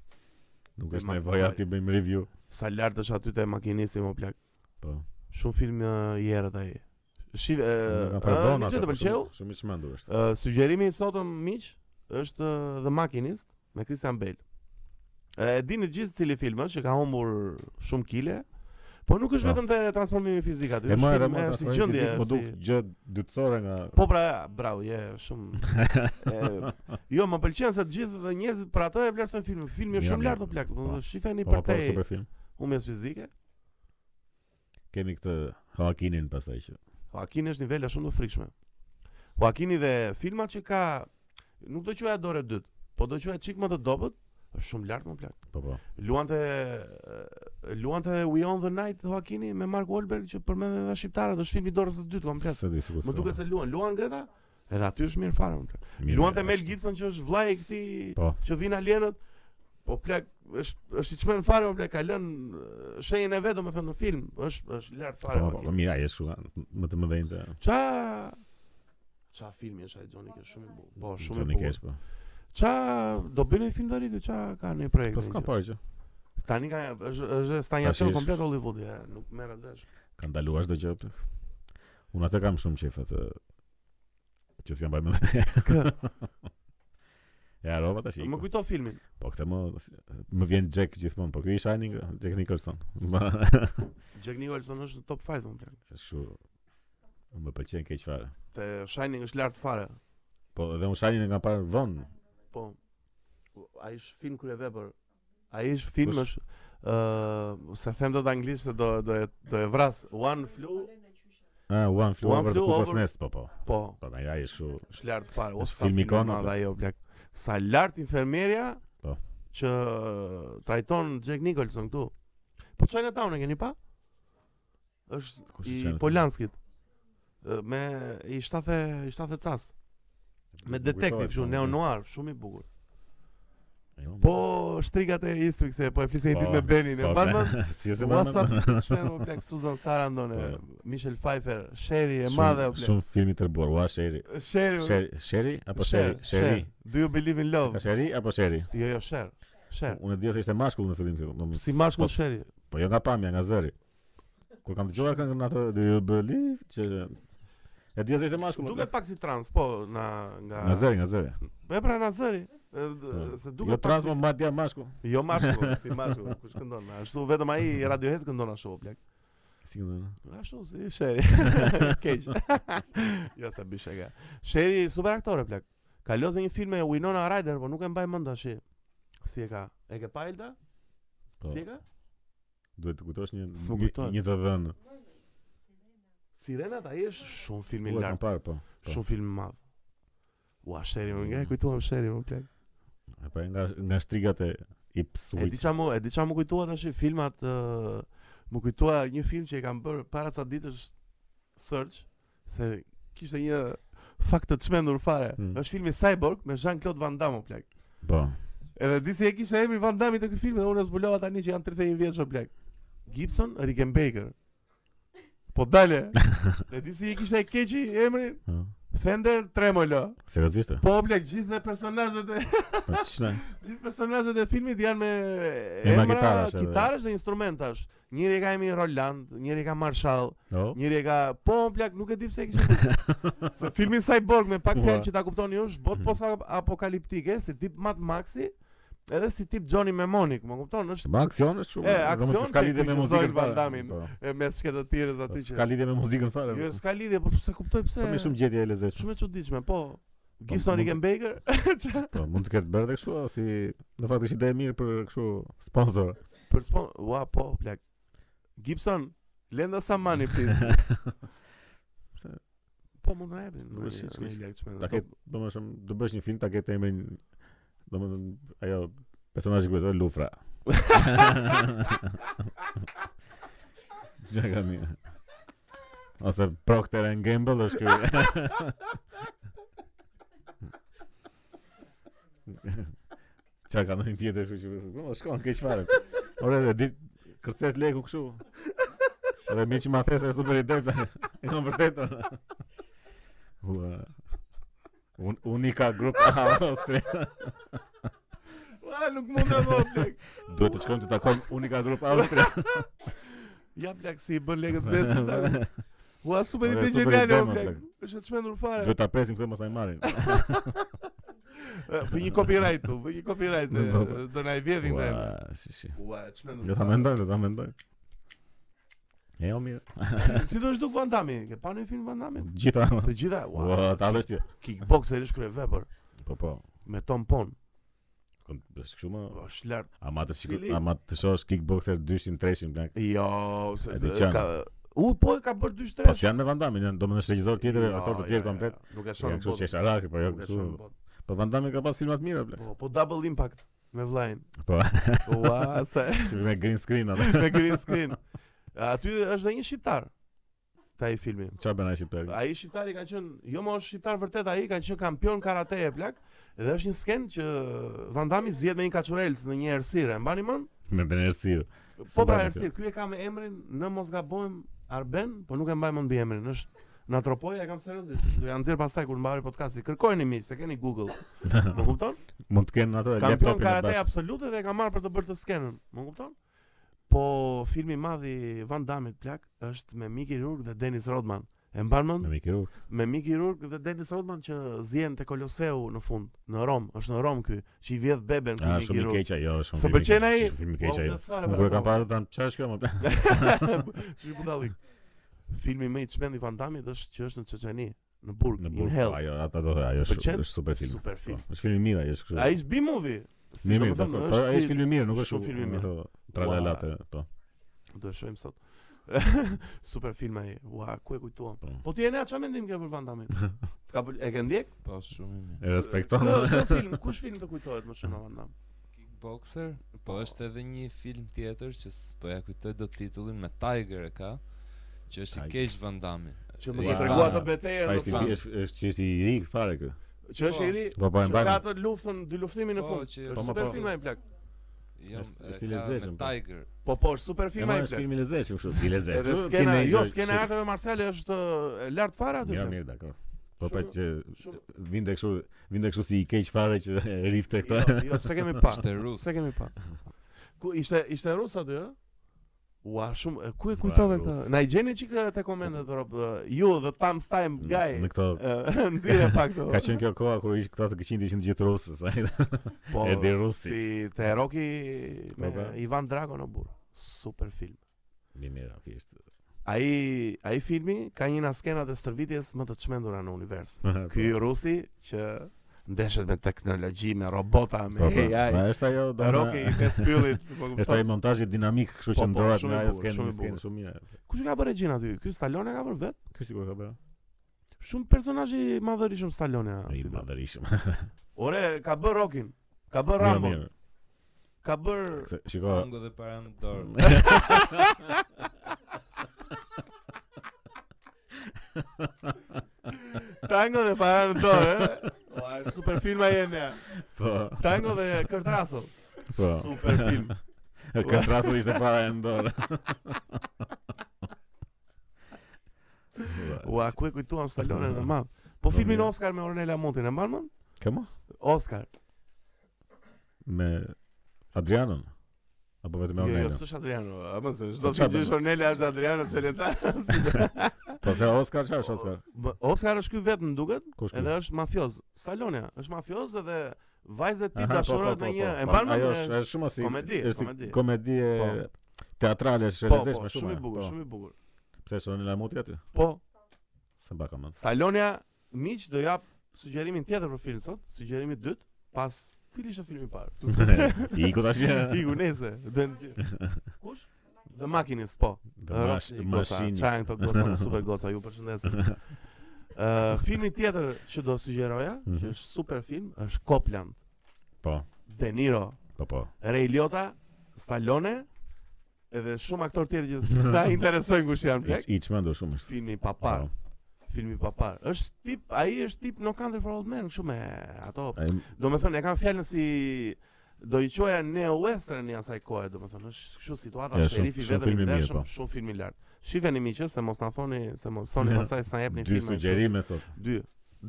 A: Nuk
B: E
A: është
B: ma-
A: nevoja
B: sa-
A: ti bëjmë review.
B: Sa lart është aty te makinisti më plak.
A: Po.
B: Shumë film uh, i erët ai. Shiv,
A: Nuk
B: ë,
A: ka
B: ë,
A: pardon
B: më
A: atë.
B: që të
A: po
B: pëlqeu?
A: shumë- Shumë i çmendur është.
B: Ë, sugjerimi i sotëm miq është ë, The Machinist me Christian Bale. Ë, E dini gjithë cili film është që ka humbur shumë kile, po nuk është
A: Po.
B: vetëm te transformimi fizik aty.
A: E
B: është
A: më edhe
B: film,
A: më
B: e,
A: si
B: si gjendje,
A: më
B: si-
A: duk gjë dytësore nga
B: Po pra, bravo, je shumë. e, jo, më pëlqen se të gjithë dhe njerëzit për atë e vlerësojnë filmin. Filmi është
A: Mirë,
B: shumë
A: mirë,
B: lart o plak,
A: po.
B: do shifeni
A: po
B: për
A: po
B: te
A: super film.
B: humbjes fizike.
A: Kemi këtë Joaquinin pastaj që.
B: Joaquini është nivela shumë të frikshme. Joaquini dhe filmat që ka nuk do quaja dorë e dytë, po do quaja çik më të dobët, është shumë lart më plak.
A: Po po.
B: Luante luante We on the Night Joaquini me Mark Wahlberg që përmendën edhe shqiptarët, është filmi i dorës së dytë, kam flas.
A: Se di sikur.
B: Më
A: se-
B: duket se luan, luan Greta, edhe aty është mirë fare. më plak.
A: Mirë,
B: Luante
A: mirë,
B: Mel
A: është.
B: Gibson që është vllai i këtij
A: Po.
B: që vin alienët, po plak është është i çmend fare, më plak ka lënë eh, shenjën e vet domethënë në film, është është lart
A: Po
B: fare.
A: po, po,
B: Joaquini.
A: mira, jesh kështu më të mëdhenj të.
B: Ça Ça filmi është ai Johnny Cash shumë i bukur. Po, shumë i
A: Johnny
B: bukur.
A: Cash, po.
B: Ça do bën ai film tani këtu? Ça ka në projekt?
A: Po s'ka
B: në gjë?
A: parë që.
B: Tani ka është është
A: Tash
B: stanjacion
A: është-
B: komplet Hollywoodi, ja, nuk merret vesh.
A: Ka ndaluar çdo gjë. plak. Unë atë kam shumë qejf atë që s'jam bërë më. Ja, rova tash.
B: Më kujto filmin.
A: Po këtë më më vjen Jack gjithmonë, po ky i Shining, Jack Nicholson. Ma-
B: Jack Nicholson është në top 5 më plan.
A: Kështu më pëlqen keq fare.
B: Te Shining është lart fare.
A: Po edhe unë Shining e kam parë vonë.
B: Po. u- Ai është film kryevepër. Ai është film
A: Kush?
B: është ë sa them dot anglisht se do do e- do e vras One Flew.
A: Ah, One Flew
B: One
A: Over the
B: Flew
A: Cuckoo's
B: Over-
A: Nest, po po.
B: Po,
A: Po na ja është kështu.
B: është lart fare. O
A: Është
B: sa
A: film
B: film
A: ikon,
B: ikona
A: apo?
B: ajo plak. Sa lart infermeria
A: Po.
B: që trajton Jack Nicholson këtu. Po Chinatown e keni pa? Është
A: Kush është
B: i
A: Chinatown?
B: Polanskit. Ë, Me i 7 i 7 cas. Me
A: Nuk
B: detektiv
A: kujtohet,
B: shumë
A: po.
B: neo noir, shumë i bukur.
A: Jo,
B: Po shtrigat e Eastwick se po e flisë
A: Po,
B: ditë me Benin, e
A: po,
B: mban
A: ble,
B: mend.
A: Si se më.
B: What's up? Shpërmo plak Susan Sarandon, e
A: Po.
B: Michelle Pfeiffer, Sherry e madhe o plak.
A: Shumë po, filmi të rëbuar, ua Sheri.
B: Sherry. o-
A: Sheri, Sheri apo Sheri?
B: Sher,
A: Sheri.
B: Sher. Do you believe in love?
A: Ka Sheri apo Sheri?
B: Jo, jo, Sher. Sher.
A: Unë e dia se ishte mashkull në fillim këtu. domethënë,
B: Si mashkull
A: po s-
B: Sherry.
A: Po jo nga pamja, nga zëri. Kur kam dëgjuar këngën atë Do you believe që e dia se ishte mashkull.
B: Duket pak si trans, po, na nga
A: Nga zëri, nga zëri.
B: Me pra na zëri. E, d-
A: Po.
B: Se duket
A: Jo
B: pak
A: transmo madje mashkull.
B: si jo mashkull, si mashkull, kush këndon. Ashtu vetëm ai Radiohead këndon ashtu o plak.
A: Si këndon?
B: Ashtu si Sherry. Keq. Jo, ja sa bishega. Sherry super aktore plak. Ka lozë një film me Winona Ryder, po nuk e mbaj mend tash. Si e ka? E ke pa Elda?
A: Po.
B: Si e ka?
A: Duhet të kujtosh një
B: S'më
A: një-
B: kujtohet.
A: një të dhënë.
B: Sirena ta jesh shumë film i
A: Po e kam
B: lartë,
A: parë po. po. Mm.
B: shumë film i madh. Ua, Sherry, më nga e kujtuam Sherry, më plak.
A: E Po e nga nga shtrigat e i
B: E di
A: psuit.
B: çamu, e di çamu kujtua tash filmat ë, më kujtua një film që e kam bërë para ca ditësh Search se kishte një fakt të çmendur fare.
A: Mm.
B: Është filmi Cyborg me Jean-Claude Van Damme o plak.
A: Po.
B: Edhe di si e kishte emrin Van Damme te ky film dhe unë e zbulova tani që janë 31 vjeç o plak. Gibson, Rickenbacker. Po dale. E di si e kishte e keqi emrin
A: Ha.
B: Fender Tremolo.
A: Po. Seriozisht? e?
B: Po o plak gjithë personazhet e
A: Po ç'na?
B: Gjithë personazhet e filmit janë me
A: Me ma
B: emra,
A: kitarash edhe.
B: kitarësh dhe instrumentash. Njëri e ka emrin Roland, njëri e ka Marshall,
A: Po.
B: njëri e ka po plak nuk e di pse e kishin. se filmi Cyborg me pak
A: Ua. Mhm.
B: fjalë që ta kuptoni ju, është botë post apokaliptike, si tip Mad Maxi, edhe si tip Johnny Mnemonic, më kupton? Është
A: Ma aksion është shumë.
B: E,
A: domethënë
B: aksion
A: s'ka
B: që
A: lidhje me
B: kujtozojnë
A: muzikën
B: Van
A: fare.
B: Damme-in.
A: Po.
B: e me shkëdëtirës
A: Po,
B: aty që.
A: S'ka lidhje me muzikën fare.
B: Jo,
A: po.
B: s'ka lidhje, po se kuptoj pse.
A: Po më shumë gjetje e lezetshme.
B: shumë e çuditshme, po.
A: mund të-
B: Gibson Rickenbacker,
A: Po, mund të ketë bërë edhe kështu o, si në fakt është ide e mirë për kështu sponsor.
B: për spon, ua po, plak. Gibson, lenda sa mani please.
A: Pse?
B: Po mund të japin.
A: Nuk
B: në
A: është
B: një-
A: siç
B: në një
A: ishte.
B: lagë çmendë.
A: Ta ketë, domethënë, do bësh një film ta ketë emrin domethënë ajo personazhi kryesor Lufra. Gjaka mirë. Ose Procter and Gamble është ky. Qa ka ndonjë tjetër kështu që besoj, "Po, shkon keq fare." Ore, dhe ditë kërces leku kështu. Ore, mi që ma thesë është super ide. tani. E kam vërtet. ore. Ua. Un, unika grup Austria.
B: Ua, Ah, nuk mund të bëj plak.
A: Duhet të shkojmë të takojmë Unika grup Austria.
B: Ja plak si i bën legët besën. ta. Ua super
A: Ore,
B: ide
A: super
B: geniale
A: ide,
B: o,
A: ma,
B: plak.
A: plak.
B: Është e çmendur fare.
A: Duhet ta presim këtë mos ai marrin.
B: E, Për një copyright, u, për një copyright e,
A: Po, po.
B: do na i vjedhin
A: Ua,
B: ne.
A: si si.
B: Ua, e çmendur.
A: Jo ta
B: fare.
A: mendoj, jo ta mendoj. E o mirë.
B: Si- Si do të duk Van Damme? Ke pa në film Van Damme?
A: Gjitha.
B: Të gjitha, ua,
A: Ua, ta vesh ti.
B: kickboxer është kryevepër
A: Po po.
B: me Tom Pon.
A: Kon bësh kështu më.
B: Është lart
A: Ama të shikoj,
B: Cili?
A: ama të shohësh kickboxer 200 300 blank.
B: Jo,
A: E
B: se
A: di qenë.
B: ka U po e ka bërë 2
A: Pas
B: shtresh.
A: janë me Van Damme, janë domethënë është regjisor tjetër,
B: Jo,
A: aktor të
B: jo,
A: tjerë
B: jo,
A: komplet.
B: jo, Nuk e
A: Ja
B: shoh
A: kështu që është arak, po jo
B: Nuk e
A: kështu.
B: shoh në botë.
A: Po Van Damme ka pas filma të mira bla.
B: Po, po Double Impact me vllajin.
A: Po,
B: Ua, sa
A: që me green screen atë.
B: me green screen. Aty është dhe një shqiptar. Ta i filmi.
A: Çfarë bën ai shqiptar?
B: Ai shqiptari ka qenë, jo më është shqiptar vërtet ai, ka qenë kampion karate e plak dhe është një sken që Van Damme zgjedh me një kaçurelc në një errësirë, e mbani mend?
A: Me benerësirë.
B: Po pra
A: mbani
B: errësirë, ky e ka me emrin në mos gabojm Arben, po nuk e mbaj mend mbi emrin, është në Atropoja e kam seriozisht. Do ja nxjerr pastaj kur mbari podcasti. Kërkojeni miq, se keni Google. Më kupton?
A: Mund të kenë ato
B: Kampion
A: laptopin e
B: karate
A: bash.
B: absolute dhe e ka marrë për të bërë të skenën, më kupton? Po filmi i madh i Van Damme plak është me Mickey Rourke dhe Dennis Rodman. E mban mend?
A: Me Mickey Rourke.
B: Me Mickey Rourke dhe Dennis Rodman që zihen te Koloseu në fund, në Rom, është në Rom ky, që i vjedh beben ku
A: Ah,
B: Mickey
A: shumë i
B: Rourke.
A: keq ajo, shumë.
B: Së
A: film i
B: pëlqen
A: keq,
B: ai?
A: shumë Film i
B: Po,
A: keq ajo.
B: unë s'fare,
A: Unë
B: pra,
A: kur e kam
B: po.
A: parë tham çfarë është kjo më bla.
B: Shi budallik. Filmi më i çmend i Van Damme është që është në Çeçeni, në burg,
A: Në
B: in
A: burg.
B: hell.
A: Ajo ato do ajo është
B: Pëlqen?
A: është super film.
B: Super film.
A: Po, Është film i mirë ai, është kështu.
B: Ai është B-movie. Si
A: Mirë,
B: do
A: mirë,
B: të thënë,
A: dakor. Po ai është film i mirë, nuk është
B: shumë film i mirë.
A: Tralalate, po.
B: Do e shohim sot. Super film ai. Ua, ku e kujtuam.
A: Po.
B: Po ti e ne çfarë mendim ke për Van Damme? Ka pël- e ke ndjek?
C: Po shumë i mirë.
A: E respekton.
B: Kë- kë film, kush film të kujtohet më shumë nga Van Damme?
C: Kickboxer, po është edhe një film tjetër që s'po ja kujtoj do titullin me Tiger e ka, që është i
A: Tiger.
C: keq Van Damme.
B: Që më
A: Ua.
B: ke
C: Van-
B: treguar atë betejën
A: Ai
B: në
A: është
B: fund.
A: i- është është që është i ri fare kë.
B: Që është i ri.
A: Po po e
B: Që ka
A: mbajmë.
B: atë luftën, dy luftimin në
C: Po,
B: fund.
C: që
B: Është
A: po, ma,
B: super
A: po.
B: film ai plak.
C: Jam
A: Është-
C: e
A: është i
C: ka
A: lezetshëm,
C: me
A: po.
C: Tiger.
B: Po po, është super
A: E
B: film ai
A: marrë është
B: plak.
A: film i lezetshëm kështu, i
B: Edhe
A: lezetshëm.
B: skena,
A: Kine-
B: jo,
A: që-
B: skena e
A: që-
B: arteve marciale është ë, e lart fare aty.
A: Ja,
B: plak.
A: mirë, dakor. Po pa
B: Shumë-
A: që
B: Shumë.
A: vinte kështu, vinte kështu si i keq fare që e rifte
B: Jo,
A: këta.
B: jo, se kemi pa.
C: Ishte rus.
B: Se kemi pa. Ku ishte ishte rus aty, ë? Ua, shumë, e, ku e
A: Ua,
B: kujtove
A: rus.
B: këtë? Na i gjeni çik të- te komentet rob. ë, Ju the Tam Time guy.
A: Në këto
B: ë, Nxirë pak këto.
A: ka qenë kjo koha kur ish këta të këqin ishin të gjithë rusë, sa
B: po,
A: Edi Rusi.
B: si te Rocky me
A: Po, po.
B: Ivan Drago në burr. Super film.
A: Mi mirë, okay, ishte.
B: Ai ai filmi ka një nga skenat e stërvitjes më të çmendura në univers. Ky rusi që ndeshet me teknologji, me robota, me
A: Po, po. Ma
B: AI.
A: është ajo do.
B: Rocky i pes pyllit. po
A: Është ai
B: kupton.
A: montazhi dinamik, kështu
B: Po,
A: që
B: po,
A: ndrohet
B: shumë
A: nga
B: i
A: ajo
B: bukur,
A: skenë,
B: shumë
A: në
B: i
A: skenë
B: bukur.
A: shumë mirë.
B: Kush e ka bërë regjin aty? Ky Stallone e ka bërë vet?
A: Ky sigur ka bërë.
B: Shumë personazhi i madhërishëm Stallone. a,
A: Ai
B: si do.
A: madhërishëm.
B: Ore, ka bër Rockin, ka bër
A: Mirë,
B: Rambo,
A: mirë.
B: ka bër
A: Se- Shiko,
C: Tango dhe para në
B: Mm.
C: dorë.
B: Tango dhe para në dorë. eh? Ua, super film ai ende.
A: po,
B: Tango dhe Kurt Russell.
A: po.
B: Super film.
A: Ka trasu ishte para e ndorë.
B: Ua, ku e kujtuam Stallone në madh.
A: Po,
B: Po filmin
A: mirë.
B: Oscar me Ornella Monti, e mban mend?
A: Kemo?
B: Oscar.
A: Me Adrianon? Apo vetëm me
B: Jo, jo,
A: Ornella?
B: s'është Adriano. A më se
A: Po,
B: çdo
A: çfarë
B: film që
A: bën?
B: është Ornella është Adriano Celentano.
A: Po se Oscar çfarë është Oscar?
B: Oscar është ky vetëm duket,
A: Kush ky?
B: edhe është mafioz. Stallone është mafioz edhe vajza e tij
A: Aha, po,
B: dashurohet
A: po,
B: me
A: po,
B: një
A: po.
B: e mban
A: Ajo
B: mend.
A: është
B: me-
A: është shumë si
B: komedi,
A: është si
B: komedi.
A: komedi e
B: Po.
A: teatrale është
B: Po,
A: realizesh
B: po,
A: me
B: shumë
A: shumë.
B: i bukur,
A: po.
B: shumë i bukur.
A: Pse është Ornella Muti aty?
B: Po,
A: Se mbaka mend.
B: Stallone miq do jap sugjerimin tjetër për film sot, sugjerimi i dytë pas cili ishte filmi i parë.
A: I iku tash.
B: Iku nese, do të gjej. Kush? The Machinist, po.
A: Dhe mash-
B: Rocky Goca,
A: Mashini.
B: Çan këto goca, më super goca, ju përshëndesim. Ë, filmi tjetër që do sugjeroja, që
A: Mhm.
B: është super film, është Copland.
A: Po.
B: De Niro,
A: Po po.
B: Ray Liotta, Stallone, edhe shumë aktor tjerë që s'ta interesojnë kush janë plak.
A: I- I çmendur shumë është.
B: Filmi pa parë.
A: Po.
B: filmi pa parë. Është tip, ai është tip No Country for Old Men, kështu me ato.
A: Ai-
B: Do me thënë, e kam fjalën si do i qoja neo-western një asaj kohë, do me thënë, është kështu situata
A: Ja, shumë-
B: sherifi
A: shumë
B: vetëm
A: film i
B: i
A: mirë,
B: ndershëm,
A: po.
B: shumë film i lartë. Shifeni miqë, eh, se mos na thoni, se mos thoni
A: Ja.
B: pastaj s'na jepni
A: Dy
B: filma.
A: sugjerime sot.
B: kështu. Dy,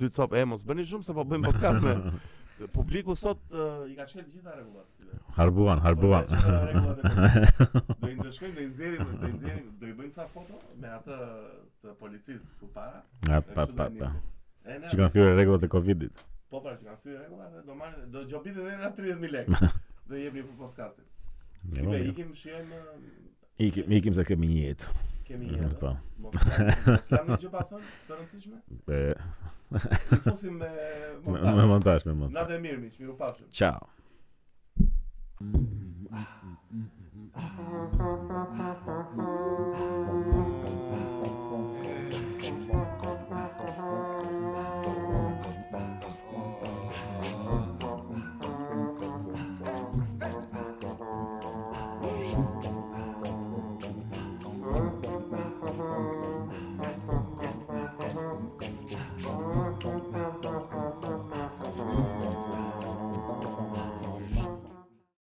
B: dy cop, e mos bëni shumë se po bëjmë podcast me. Publiku sot ë, i ka shkel gjitha rregullat. si dhe.
A: Harbuan, harbuan.
B: Po, ka qenë rregullat e Do i ndëshkojmë, do i nxjerrim, do i nxjerrim, do i bëjmë sa foto me atë të policisë ku para.
A: A,
B: e
A: pa
B: kështu do
A: pa
B: e
A: pa.
B: nisim. E, ne-
A: Që kanë thyrë rregullat e Covidit.
B: Po pra që kanë fyrë rregulla dhe do marrin do gjobitin edhe na 30000 lekë. Do i jepni për podcastin.
A: Mirë,
B: Si be
A: mirë.
B: ikim shijojmë uh,
A: Ikim, ikim se kemi një jetë.
B: kemi një herë.
A: Po.
B: Mos kam një gjë pa thënë, të rëndësishme.
A: E,
B: I fusim me
A: Me me montazh,
B: montazh.
A: me montazh.
B: Natë e mirë miq, miru pafshim.
A: Ciao.
D: Thank